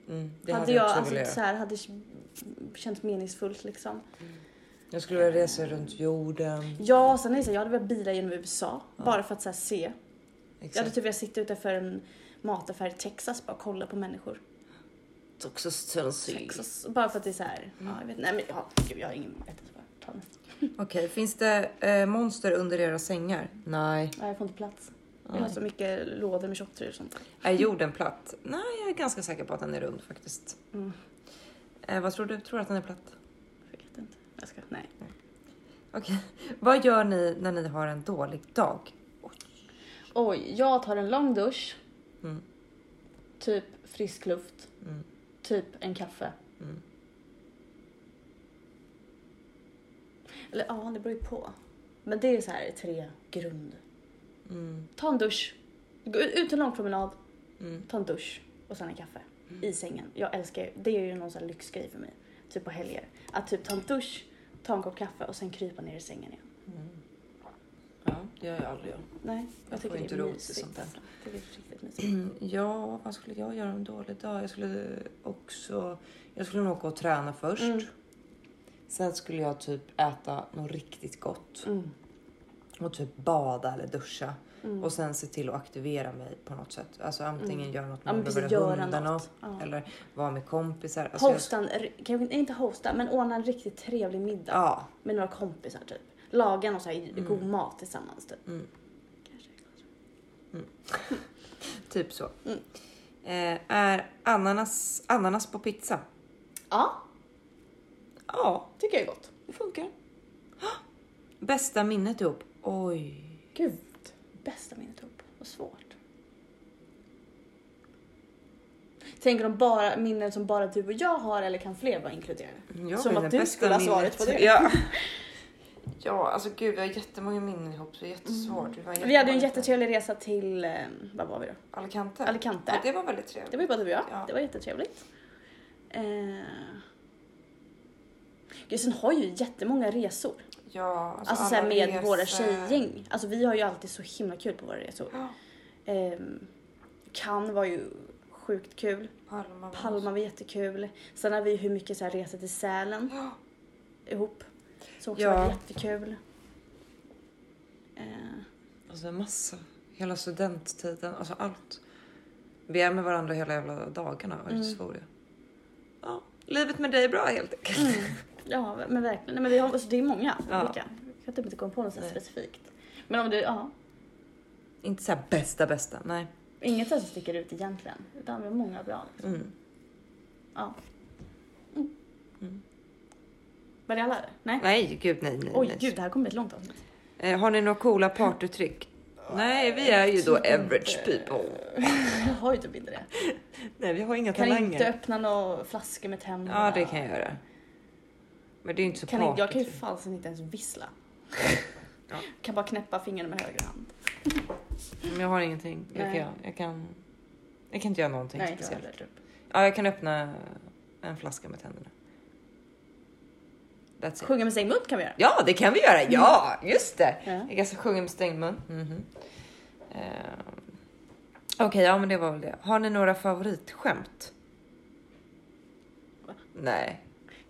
Speaker 2: Mm, det
Speaker 1: hade
Speaker 2: hade
Speaker 1: jag
Speaker 2: jag också
Speaker 1: alltså
Speaker 2: velat
Speaker 1: så
Speaker 2: göra.
Speaker 1: här, hade känts meningsfullt liksom.
Speaker 2: Jag skulle vilja resa runt jorden.
Speaker 1: Ja, sen är det så här, jag hade velat bila genom USA bara för att så här, se. Jag hade
Speaker 2: Exakt.
Speaker 1: typ velat sitta utanför en mataffär i Texas bara och kolla på människor. typ
Speaker 2: Också Tennessee.
Speaker 1: Texas, bara för att det är så här,
Speaker 2: Mm.
Speaker 1: ja, jag vet nej men ja, gud, jag har ingen, jag vet inte vad jag tar nu.
Speaker 2: Okej, finns det eh, monster under era sängar? Nej.
Speaker 1: Nej, jag får inte plats. Jag har
Speaker 2: Nej.
Speaker 1: så mycket lådor med tjocktröjor och sånt.
Speaker 2: Är jorden platt? Nej, jag är ganska säker på att den är rund faktiskt.
Speaker 1: Mm.
Speaker 2: Eh, vad tror du? Tror du att den är platt?
Speaker 1: Jag vet inte. Jag ska, nej.
Speaker 2: Okej. Vad gör ni när ni har en dålig dag?
Speaker 1: Oj, jag tar en lång dusch.
Speaker 2: Mm.
Speaker 1: Typ frisk luft.
Speaker 2: Mm.
Speaker 1: Typ en kaffe.
Speaker 2: Mm.
Speaker 1: Eller ja, det beror ju på. Men det är så här tre grund.
Speaker 2: Mm.
Speaker 1: Ta en dusch. Gå ut ut en lång promenad,
Speaker 2: Mm.
Speaker 1: ta en dusch och sen en kaffe. I sängen. Jag älskar ju, det är ju någon sån här lyxgrej för mig. Typ på helger. Att typ ta en dusch, ta en kopp kaffe och sen krypa ner i sängen igen.
Speaker 2: Mm. Ja, det gör jag aldrig. jag.
Speaker 1: Nej, jag,
Speaker 2: Jag får
Speaker 1: tycker det
Speaker 2: inte
Speaker 1: är
Speaker 2: ro till
Speaker 1: mysigt.
Speaker 2: sånt där.
Speaker 1: Det är riktigt mysigt.
Speaker 2: Mm. Ja, vad skulle jag göra en dålig dag? Jag skulle också... Jag skulle nog gå och träna först.
Speaker 1: Mm.
Speaker 2: Sen skulle jag typ äta något riktigt gott
Speaker 1: Mm.
Speaker 2: och typ bada eller duscha.
Speaker 1: Mm.
Speaker 2: och sen se till att aktivera mig på något sätt. Alltså antingen
Speaker 1: Mm.
Speaker 2: göra något
Speaker 1: ja,
Speaker 2: med
Speaker 1: men
Speaker 2: ja,
Speaker 1: precis, göra
Speaker 2: hundarna
Speaker 1: något. Ja.
Speaker 2: eller vara med kompisar. Alltså, jag-
Speaker 1: Hosta en, kanske inte- inte hosta, men ordna en riktigt trevlig middag
Speaker 2: Ja,
Speaker 1: med några kompisar typ. Laga någon så här god mat tillsammans typ.
Speaker 2: Mm.
Speaker 1: Kanske.
Speaker 2: [laughs] typ så.
Speaker 1: Mm.
Speaker 2: Eh, är ananas, ananas på pizza?
Speaker 1: Ja,
Speaker 2: Ja,
Speaker 1: tycker jag är gott.
Speaker 2: det funkar. Bästa minnet ihop? Oj.
Speaker 1: Gud, bästa minnet ihop. Vad svårt. Tänker de bara minnen som bara du och jag har eller kan fler vara inkluderade?
Speaker 2: Mm, Jag
Speaker 1: Som
Speaker 2: vet
Speaker 1: att
Speaker 2: inte,
Speaker 1: du
Speaker 2: bästa
Speaker 1: skulle ha
Speaker 2: minnet.
Speaker 1: svaret på det.
Speaker 2: Ja. ja, alltså gud, vi har jättemånga minnen ihop så det är jättesvårt. Vi, var
Speaker 1: [laughs] Mm. Vi hade ju en
Speaker 2: jättemånga-
Speaker 1: jättetrevlig resa till, eh, vad var vi då?
Speaker 2: Alicante.
Speaker 1: Alicante.
Speaker 2: Ja, det var väldigt trevligt.
Speaker 1: Det var ju bara du och jag.
Speaker 2: Ja.
Speaker 1: Det var jättetrevligt. Eh... Gud, sen har jag ju jättemånga resor.
Speaker 2: Ja,
Speaker 1: Alltså, så
Speaker 2: alla
Speaker 1: här med
Speaker 2: resor.
Speaker 1: våra tjejgäng. Alltså vi har ju alltid så himla kul på våra resor.
Speaker 2: Ja,
Speaker 1: Ehm, Cannes var ju sjukt kul.
Speaker 2: Palma. var
Speaker 1: Palma
Speaker 2: också-
Speaker 1: var jättekul. Sen har vi hur mycket så här resor till Sälen
Speaker 2: Ja,
Speaker 1: ihop. Som också
Speaker 2: Ja.
Speaker 1: var jättekul. Eh,
Speaker 2: alltså en massa. Hela studenttiden, alltså allt. Vi är med varandra hela jävla dagarna och
Speaker 1: Mm.
Speaker 2: historia. Ja, livet med dig är bra helt enkelt.
Speaker 1: mm.
Speaker 2: [laughs]
Speaker 1: ja men verkligen. Nej, men vi har, alltså, det är många
Speaker 2: Ja.
Speaker 1: olika. Jag kan typ inte komma på något så här
Speaker 2: Nej.
Speaker 1: specifikt. Men om du, ja.
Speaker 2: Inte så här bästa bästa, nej.
Speaker 1: Inget som sticker ut egentligen. Utan vi har många bra. liksom.
Speaker 2: Mm.
Speaker 1: Ja.
Speaker 2: Mm.
Speaker 1: Var det alla? Nej?
Speaker 2: Nej, gud nej, nej.
Speaker 1: Oj
Speaker 2: nej.
Speaker 1: gud, det här kommer bli ett långt avsnitt.
Speaker 2: Eh, har ni några coola Mm. partytrick? Nej, vi är ju då average people.
Speaker 1: [laughs] Jag har ju typ inte det.
Speaker 2: Nej, vi har inga
Speaker 1: Kan inte
Speaker 2: talanger.
Speaker 1: öppna några flaskor med tänderna.
Speaker 2: Ja, det kan jag göra. Men det är ju inte så
Speaker 1: Kan inte, jag kan ju
Speaker 2: partytrick.
Speaker 1: fasen inte ens vissla.
Speaker 2: Ja.
Speaker 1: Kan bara knäppa fingrarna med höger hand.
Speaker 2: Men jag har ingenting. Jag
Speaker 1: Nej.
Speaker 2: kan, jag kan, jag kan inte göra någonting
Speaker 1: Nej, inte jag
Speaker 2: speciellt.
Speaker 1: heller. Typ.
Speaker 2: Ja, jag kan öppna en flaska med tänderna. That's it.
Speaker 1: Sjunga med stängd mun kan vi göra.
Speaker 2: Alltså. Ja, det kan vi göra. Ja, just det.
Speaker 1: Ja.
Speaker 2: Jag kan så sjunga med stängd mun. Mhm. Ehm, Okej, ja, men det var väl det. Har ni några favoritskämt?
Speaker 1: Va?
Speaker 2: Nej.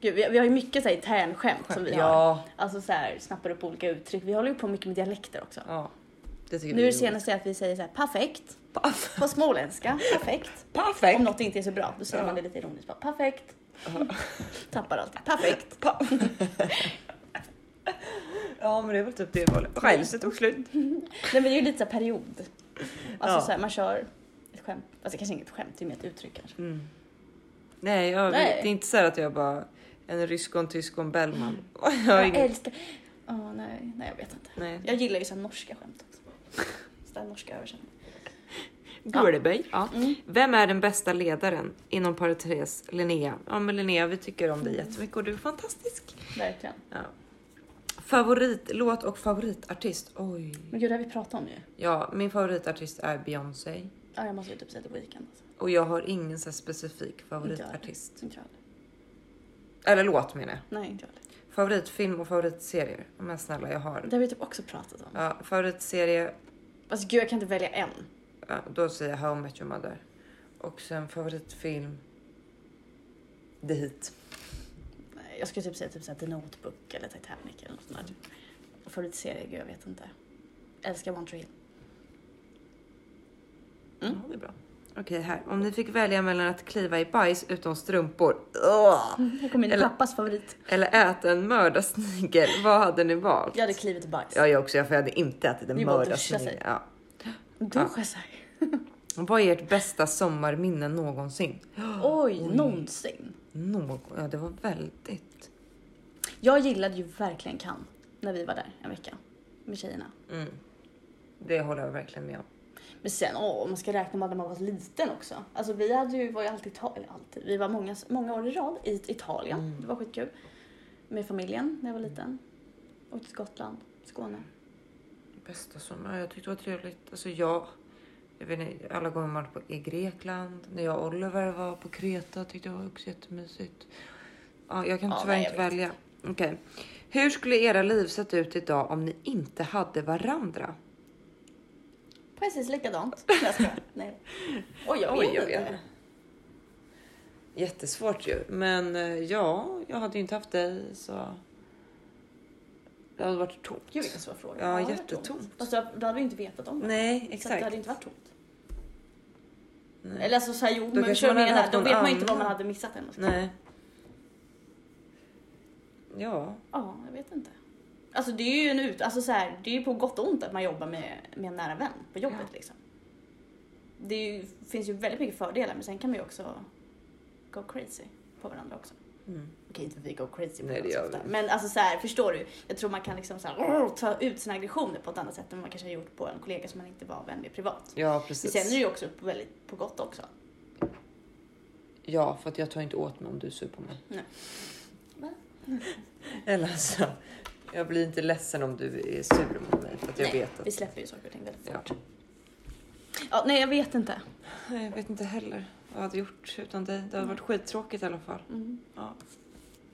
Speaker 1: Gud, vi, vi har ju mycket så här internskämt som vi har.
Speaker 2: ja,
Speaker 1: Alltså så här, snappar upp olika uttryck. Vi håller ju på mycket med dialekter också.
Speaker 2: ja. Det tycker
Speaker 1: Nu är
Speaker 2: vi
Speaker 1: det senaste
Speaker 2: [laughs]
Speaker 1: att vi säger så här, perfekt.
Speaker 2: roligt.
Speaker 1: På småländska, perfekt.
Speaker 2: Perfekt.
Speaker 1: Om något inte är så bra, då säger man det lite ironiskt. Bara, perfekt. Tappar allt. Perfekt.
Speaker 2: Pa- [laughs] ja, men det är väl typ det
Speaker 1: Mm.
Speaker 2: valet. Rälsen tog slut.
Speaker 1: Nej men det är ju lite så här period. Alltså
Speaker 2: Ja.
Speaker 1: så här, man kör ett skämt. Alltså kanske inget skämt, det är mer ett uttryck kanske.
Speaker 2: Mm. Nej, jag,
Speaker 1: Nej.
Speaker 2: det är inte så här att jag bara en rysk och en tysk och en Bellman. [laughs] Jag har
Speaker 1: Jag
Speaker 2: ingen...
Speaker 1: älskar... Åh nej, nej jag vet inte.
Speaker 2: Nej.
Speaker 1: Jag gillar ju så här norska skämt också. Sådär norska översättningar.
Speaker 2: Gulleböj. Ja.
Speaker 1: Mm.
Speaker 2: Vem är den bästa ledaren? Inom parentes Linnea. Ja, men Linnea, vi tycker om dig jättemycket och du är fantastisk.
Speaker 1: Verkligen.
Speaker 2: Ja. Favoritlåt och favoritartist? Oj.
Speaker 1: Men gud, det har vi pratat om ju.
Speaker 2: Ja, min favoritartist är Beyoncé
Speaker 1: Ja, jag måste ju typ säga The Weeknd. Alltså.
Speaker 2: och jag har ingen så här specifik favoritartist.
Speaker 1: Inte jag heller.
Speaker 2: Eller låt menar jag.
Speaker 1: Nej, inte jag heller.
Speaker 2: Favoritfilm och favoritserier? Men snälla, jag har.
Speaker 1: Det har vi typ också pratat om.
Speaker 2: Ja, favoritserie,
Speaker 1: Alltså gud, jag kan inte välja en.
Speaker 2: ja, då säger jag How I Met Your Mother. Och sen favoritfilm, The Heat.
Speaker 1: Nej, Jag skulle typ säga typ så här, The Notebook eller Titanic eller något sånt där. typ. Och favoritserie, gud jag vet inte. Älskar One Tree Hill. Mm.
Speaker 2: Ja, det är bra. Okej, här. Om ni fick välja mellan att kliva i bajs utan strumpor ugh,
Speaker 1: Här kommer min
Speaker 2: Eller-
Speaker 1: pappas favorit.
Speaker 2: eller äta en mördarsnigel, vad hade ni valt?
Speaker 1: Jag hade klivit i bajs.
Speaker 2: Ja, jag också, för jag hade inte ätit
Speaker 1: Det
Speaker 2: en
Speaker 1: är bara att duscha
Speaker 2: mördarsnigel.
Speaker 1: sig.
Speaker 2: Ja.
Speaker 1: Duscha sig.
Speaker 2: Vad är ert bästa sommarminne någonsin?
Speaker 1: Oj, någonsin.
Speaker 2: Någon... Ja, det var väldigt...
Speaker 1: Jag gillade ju verkligen Cannes när vi var där en vecka med tjejerna.
Speaker 2: Mm. Det håller jag verkligen med om.
Speaker 1: Men sen, åh, om man ska räkna med när man var liten också. Alltså vi hade ju, var ju alltid, Ital- eller alltid, vi var många, många år i rad i Italien.
Speaker 2: Mm.
Speaker 1: Det var skitkul. Med familjen när jag var liten.
Speaker 2: Mm.
Speaker 1: Åkte till Gotland, Skåne.
Speaker 2: Bästa sommar. Jag tyckte det var trevligt. Alltså jag, jag vet inte, alla gånger man var på, i Grekland, när jag och Oliver var på Kreta tyckte jag det var också jättemysigt. Ja, jag kan
Speaker 1: Ja,
Speaker 2: tyvärr
Speaker 1: nej,
Speaker 2: inte
Speaker 1: jag vet
Speaker 2: välja. Okej. Hur skulle era liv sett ut idag om ni inte hade varandra?
Speaker 1: Precis likadant. Nej, jag skojar. Nej. Oj, jag
Speaker 2: Oj,
Speaker 1: vet
Speaker 2: jag
Speaker 1: inte.
Speaker 2: vet. Jättesvårt ju, men eh, ja, jag hade ju inte haft dig så. Det hade varit tomt.
Speaker 1: Gud vilken svår fråga.
Speaker 2: Ja,
Speaker 1: det var
Speaker 2: jättetomt.
Speaker 1: tomt. Fast då, då hade vi inte vetat om det.
Speaker 2: Nej,
Speaker 1: Så att
Speaker 2: exakt.
Speaker 1: det hade inte varit tomt.
Speaker 2: Nej.
Speaker 1: Eller alltså såhär jo, men
Speaker 2: kanske
Speaker 1: kör
Speaker 2: man hade
Speaker 1: med här.
Speaker 2: haft
Speaker 1: Då
Speaker 2: någon
Speaker 1: vet man ju inte vad
Speaker 2: annan.
Speaker 1: man hade missat än.
Speaker 2: Nej. Ja,
Speaker 1: Ja, jag vet inte. Alltså det är ju en ut, alltså så här, det är ju på gott och ont att man jobbar med, med en nära vän på jobbet
Speaker 2: Ja.
Speaker 1: liksom. Det är ju, finns ju väldigt mycket fördelar men sen kan man ju också go crazy på varandra också.
Speaker 2: mm.
Speaker 1: Okej, inte vi go crazy på
Speaker 2: Nej, det
Speaker 1: varandra så
Speaker 2: gör
Speaker 1: ofta.
Speaker 2: vi inte.
Speaker 1: Men alltså så här, förstår du? Jag tror man kan liksom så här, ta ut sina aggressioner på ett annat sätt än man kanske har gjort på en kollega som man inte var vän med privat.
Speaker 2: ja
Speaker 1: Men
Speaker 2: precis.
Speaker 1: sen är det ju också på, väldigt, på gott också.
Speaker 2: Ja, för att jag tar inte åt mig om du är sur på mig.
Speaker 1: Nej. Va?
Speaker 2: [laughs] Eller alltså, jag blir inte ledsen om du är sur mot mig för att jag
Speaker 1: nej,
Speaker 2: vet
Speaker 1: vi
Speaker 2: att...
Speaker 1: släpper ju saker och ting väldigt
Speaker 2: Ja.
Speaker 1: fort. Ja, nej, jag vet inte.
Speaker 2: Nej, Jag vet inte heller vad jag hade gjort utan dig. Det hade varit skittråkigt i alla fall.
Speaker 1: Mm,
Speaker 2: Ja.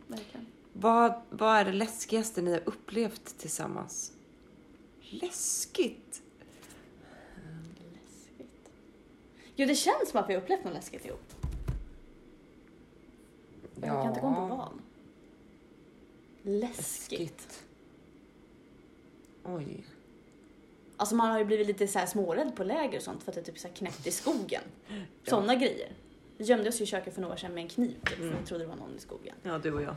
Speaker 1: verkligen.
Speaker 2: Vad, vad är det läskigaste ni har upplevt tillsammans? Läskigt?
Speaker 1: Läskigt. Jo, det känns som att vi har upplevt något läskigt ihop. Men Jag kan inte komma på vad. Läskigt.
Speaker 2: Läskigt. Oj.
Speaker 1: Alltså man har ju blivit lite så här smårädd på läger och sånt för att det är typ så här knäppt i [laughs] skogen. Sådana grejer. Vi gömde oss ju i köket för några år sedan med en kniv typ, för
Speaker 2: Mm.
Speaker 1: vi trodde det var någon i skogen.
Speaker 2: Ja, du och jag.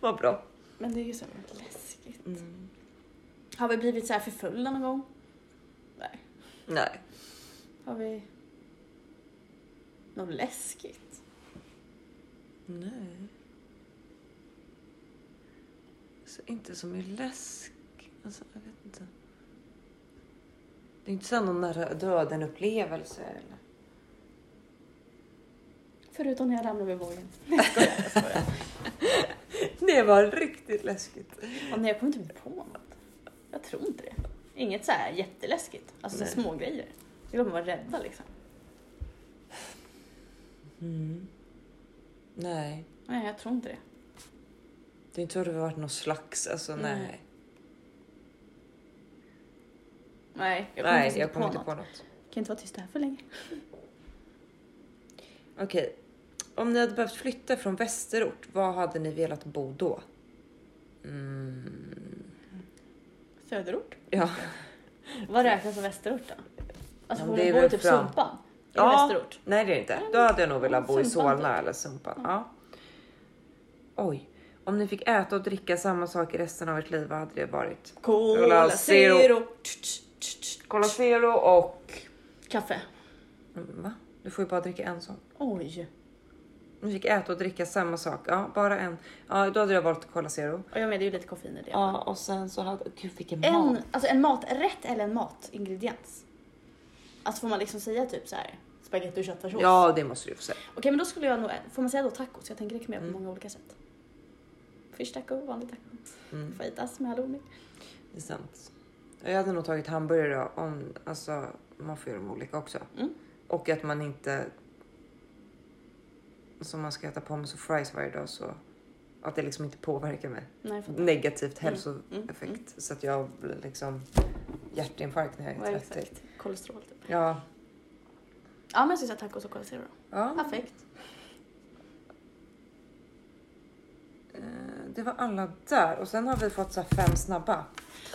Speaker 2: Vad bra.
Speaker 1: Men det är ju så här Mm. läskigt.
Speaker 2: Mm.
Speaker 1: Har vi blivit så här förföljda någon gång?
Speaker 2: Nej.
Speaker 1: Har vi... Något läskigt?
Speaker 2: Nej. Så inte som i läsk. Alltså, jag vet inte. Det är inte så här någon nära döden-upplevelse eller?
Speaker 1: Förutom när jag ramlade med vågen.
Speaker 2: Det var riktigt läskigt.
Speaker 1: Och nej, jag kommer inte på något. Jag tror inte det. Inget så här jätteläskigt. Alltså så
Speaker 2: Nej.
Speaker 1: små grejer. Det var man var rädda liksom.
Speaker 2: Mm. Nej.
Speaker 1: Nej, jag tror inte det.
Speaker 2: Det är inte så att det har varit någon slags, alltså
Speaker 1: Mm.
Speaker 2: nej.
Speaker 1: Nej, jag kommer
Speaker 2: Nej,
Speaker 1: faktiskt
Speaker 2: jag
Speaker 1: inte på
Speaker 2: kommer
Speaker 1: något.
Speaker 2: inte på något.
Speaker 1: Kan inte vara tyst här för länge.
Speaker 2: Okej. Om ni hade behövt flytta från västerort, var hade ni velat bo då? Mm.
Speaker 1: Söderort?
Speaker 2: Ja.
Speaker 1: Vad räknas som västerort då? Alltså
Speaker 2: Ja,
Speaker 1: får
Speaker 2: det
Speaker 1: man
Speaker 2: är
Speaker 1: bo i
Speaker 2: väl
Speaker 1: typ
Speaker 2: fram-
Speaker 1: Sumpan? I
Speaker 2: Ja.
Speaker 1: västerort?
Speaker 2: Nej, det är det inte.
Speaker 1: Nej,
Speaker 2: Då hade jag nog velat bo i
Speaker 1: Sumpan
Speaker 2: Solna eller Sumpan. Ja. Oj. Om ni fick äta och dricka samma sak i resten av ert liv, vad hade det varit?
Speaker 1: Cola
Speaker 2: Cola
Speaker 1: Zero.
Speaker 2: Zero.
Speaker 1: Tch, tch, tch, tch.
Speaker 2: Cola Zero och...
Speaker 1: Kaffe.
Speaker 2: Mm, Va? Du får ju bara dricka en sak.
Speaker 1: Oj.
Speaker 2: Om Ni fick äta och dricka samma sak. Ja, bara en. Ja, då hade jag valt Cola Zero.
Speaker 1: Och jag med, det är ju lite koffein i det.
Speaker 2: Ja, och sen så hade... Gud, vilken
Speaker 1: En, alltså en maträtt eller en matingrediens? Alltså får man liksom säga typ så här spagetti och köttfärssås?
Speaker 2: Ja, det måste du få säga.
Speaker 1: Okej, men då skulle jag nog... Får man säga då tacos? Jag tänker reklamera på
Speaker 2: Mm.
Speaker 1: många olika sätt. Fish taco, vanlig taco,
Speaker 2: Mm.
Speaker 1: fajitas med halloumi.
Speaker 2: Det är sant. Jag hade nog tagit hamburgare då, om, alltså man får göra dem olika också.
Speaker 1: Mm.
Speaker 2: Och att man inte... Som man ska äta pommes och fries varje dag så att det liksom inte påverkar mig.
Speaker 1: Nej, jag fattar.
Speaker 2: Negativt
Speaker 1: Mm,
Speaker 2: hälsoeffekt.
Speaker 1: mm,
Speaker 2: Så att jag blir liksom hjärtinfarkt när jag
Speaker 1: Ja,
Speaker 2: är 30.
Speaker 1: exakt. Kolesterol typ.
Speaker 2: Ja.
Speaker 1: Ja, men jag skulle säga tacos och cola zero.
Speaker 2: ja.
Speaker 1: Perfekt.
Speaker 2: Eh, Det var alla där. Och sen har vi fått så här fem snabba.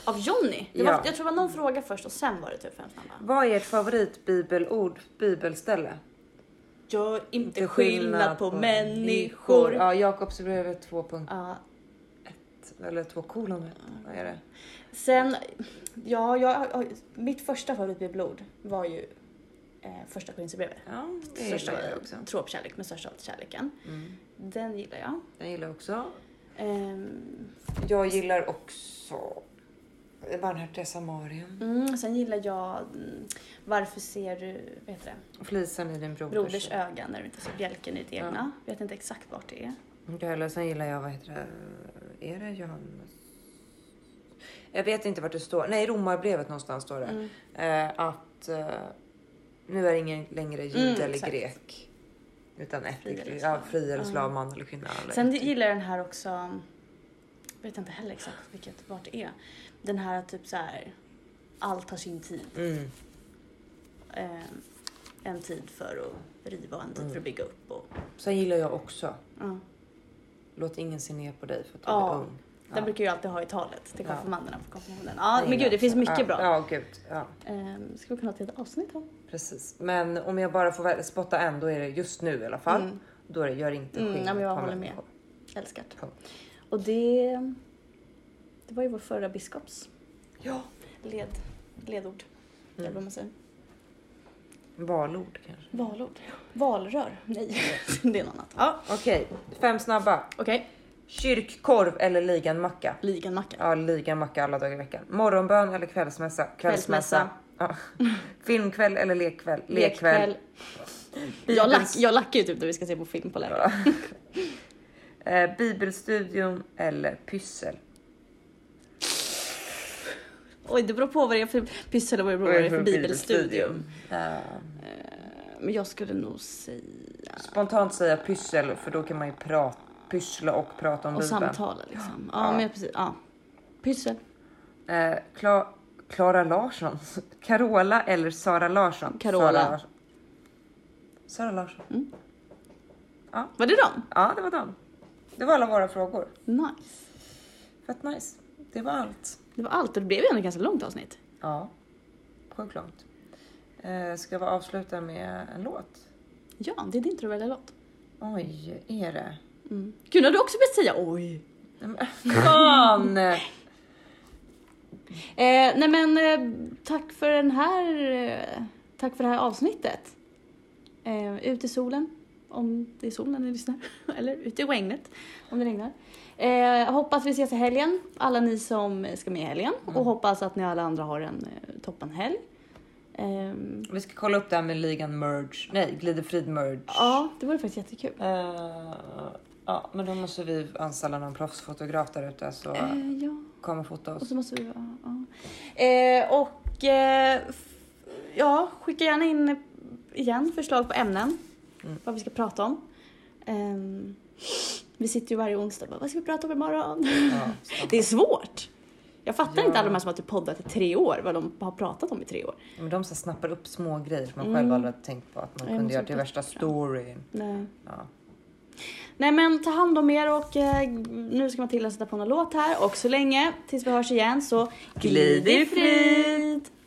Speaker 1: Av Johnny? Det var,
Speaker 2: Ja.
Speaker 1: Jag tror det var någon fråga först och sen var det typ fem snabba.
Speaker 2: Vad är ert favoritbibelord, bibelställe?
Speaker 1: Gör inte skillnad på människor. Ja.
Speaker 2: Ja, Jakobsbrevet 2.1 eller 2 kolon. Vad är det?
Speaker 1: Sen, ja, jag, mitt första favoritbibelord var ju eh, första Korinthierbrevet.
Speaker 2: Ja, det
Speaker 1: Största
Speaker 2: gillar jag också.
Speaker 1: tråpkärlek men största av allt kärleken.
Speaker 2: Mm.
Speaker 1: Den gillar jag.
Speaker 2: Den gillar jag också.
Speaker 1: Ehm,
Speaker 2: Jag gillar också Barmhärtiga samarien.
Speaker 1: Mm, sen gillar jag mm, Varför ser du vad heter
Speaker 2: Flisan i din
Speaker 1: det,
Speaker 2: broders,
Speaker 1: broders öga när du inte ser bjälken i ditt
Speaker 2: Ja.
Speaker 1: egna? Vet inte exakt vart det är.
Speaker 2: Inte heller. Sen gillar jag, vad heter det? Är det Johannes? Jag vet inte vart det står. Nej, Romarbrevet någonstans står det.
Speaker 1: Mm.
Speaker 2: Eh, att eh, nu är ingen längre jud
Speaker 1: Mm,
Speaker 2: eller
Speaker 1: exakt.
Speaker 2: grek. Utan ett
Speaker 1: Fri eller
Speaker 2: ja,
Speaker 1: slav.
Speaker 2: fri eller
Speaker 1: Ja.
Speaker 2: slav, man eller kvinna. Eller typ.
Speaker 1: Sen
Speaker 2: inte.
Speaker 1: gillar jag den här också, vet inte heller exakt vilket, vart det är. Den här typ så här, allt har sin tid.
Speaker 2: Mm.
Speaker 1: Eh, en tid för att riva och en tid
Speaker 2: Mm.
Speaker 1: för att bygga upp. Och,
Speaker 2: Sen gillar jag också
Speaker 1: ja.
Speaker 2: Låt ingen se ner på dig för att du
Speaker 1: Ja.
Speaker 2: är ung.
Speaker 1: Den
Speaker 2: Ja.
Speaker 1: brukar jag alltid ha i talet till
Speaker 2: Ja.
Speaker 1: konfirmanderna på konfirmationen. Ja, men gud det finns mycket
Speaker 2: ja,
Speaker 1: bra.
Speaker 2: Ja, gud. Ja,
Speaker 1: Ehm, ska vi kunna ha ett helt avsnitt om.
Speaker 2: precis. Men om jag bara får väl- spotta en, då är det just nu i alla fall.
Speaker 1: Mm.
Speaker 2: Då är det gör inte
Speaker 1: Mm,
Speaker 2: skillnad
Speaker 1: ja, men jag
Speaker 2: på
Speaker 1: håller
Speaker 2: människor.
Speaker 1: Älskar det.
Speaker 2: Ja.
Speaker 1: Och det... Det var ju vår förra biskops
Speaker 2: Ja.
Speaker 1: led, ledord. Eller vad
Speaker 2: Mm.
Speaker 1: man säger.
Speaker 2: Valord kanske.
Speaker 1: Valord. Valrör. Nej, [laughs] det är något annat. Ja,
Speaker 2: Okej, fem snabba.
Speaker 1: okej.
Speaker 2: Kyrkkorv eller liganmacka?
Speaker 1: Liganmacka.
Speaker 2: Ja, liganmacka alla dagar i veckan. Morgonbön eller kvällsmässa?
Speaker 1: Kvällsmässa.
Speaker 2: Ja. Filmkväll eller lekkväll?
Speaker 1: Jag, lack,
Speaker 2: Bibels-
Speaker 1: jag lackar ju typ när vi ska se på film på läger.
Speaker 2: Ja. [laughs] Eh, Bibelstudium eller pyssel?
Speaker 1: Oj, det beror på vad det är för pyssel och vad det beror på vad det är för bibelstudium. Eh, Men jag skulle nog säga...
Speaker 2: Spontant säga pyssel för då kan man ju prata, pyssla och prata om
Speaker 1: Och
Speaker 2: Bibeln.
Speaker 1: samtala liksom.
Speaker 2: Ja.
Speaker 1: Ja, men precis. Ja. Pyssel.
Speaker 2: Eh, Kla- Klara Larsson, [laughs] Carola eller Sara Larsson?
Speaker 1: Carola.
Speaker 2: Sara Larsson. Sara Larsson.
Speaker 1: Var det dem?
Speaker 2: Ja, det var dem. Det var alla våra frågor.
Speaker 1: Nice.
Speaker 2: Fett nice. Det var allt.
Speaker 1: Det var allt. Det blev ju ändå ett ganska långt avsnitt.
Speaker 2: Ja, sjukt långt. Eh, ska vi avsluta med en låt?
Speaker 1: Ja, det är din tur att välja låt.
Speaker 2: Oj, är det?
Speaker 1: Mm. Gud, har du också börjat säga oj?
Speaker 2: Nej, men- [laughs] Fan!
Speaker 1: Eh, nej men eh, tack för den här, eh, tack för det här avsnittet. Eh, ut i solen, om det är solen ni lyssnar. [laughs] Eller ut i regnet, om det regnar. Eh, hoppas vi ses i helgen, alla ni som ska med i helgen. Och hoppas att ni alla andra har en eh, toppenhelg. Ehm,
Speaker 2: Vi ska kolla upp det här med ligan merge. Nej, glidefrid merge.
Speaker 1: ja, det vore faktiskt jättekul.
Speaker 2: Eh, ja, men då måste vi anställa någon proffsfotograf där ute så
Speaker 1: Eh, ja.
Speaker 2: kom och fota
Speaker 1: Och
Speaker 2: oss.
Speaker 1: så måste vi... Ja, ja. Eh, och eh, f- ja, skicka gärna in eh, igen förslag på ämnen.
Speaker 2: Mm.
Speaker 1: Vad vi ska prata om. Ehm, vi sitter ju varje onsdag och bara, vad ska vi prata om imorgon?
Speaker 2: Ja,
Speaker 1: [laughs] Det är svårt. Jag fattar
Speaker 2: Ja.
Speaker 1: inte alla de här som har typ poddat i tre år, vad de har pratat om i tre år.
Speaker 2: men de så snappar upp små grejer som man
Speaker 1: Mm.
Speaker 2: själv aldrig hade tänkt på att man
Speaker 1: Ja, jag
Speaker 2: kunde
Speaker 1: måste
Speaker 2: göra till
Speaker 1: bättre.
Speaker 2: värsta storyn.
Speaker 1: Nej.
Speaker 2: Ja.
Speaker 1: Nej men ta hand om er och eh, nu ska Matilda sätta på någon låt här och så länge tills vi hörs igen så
Speaker 2: Glid i frid.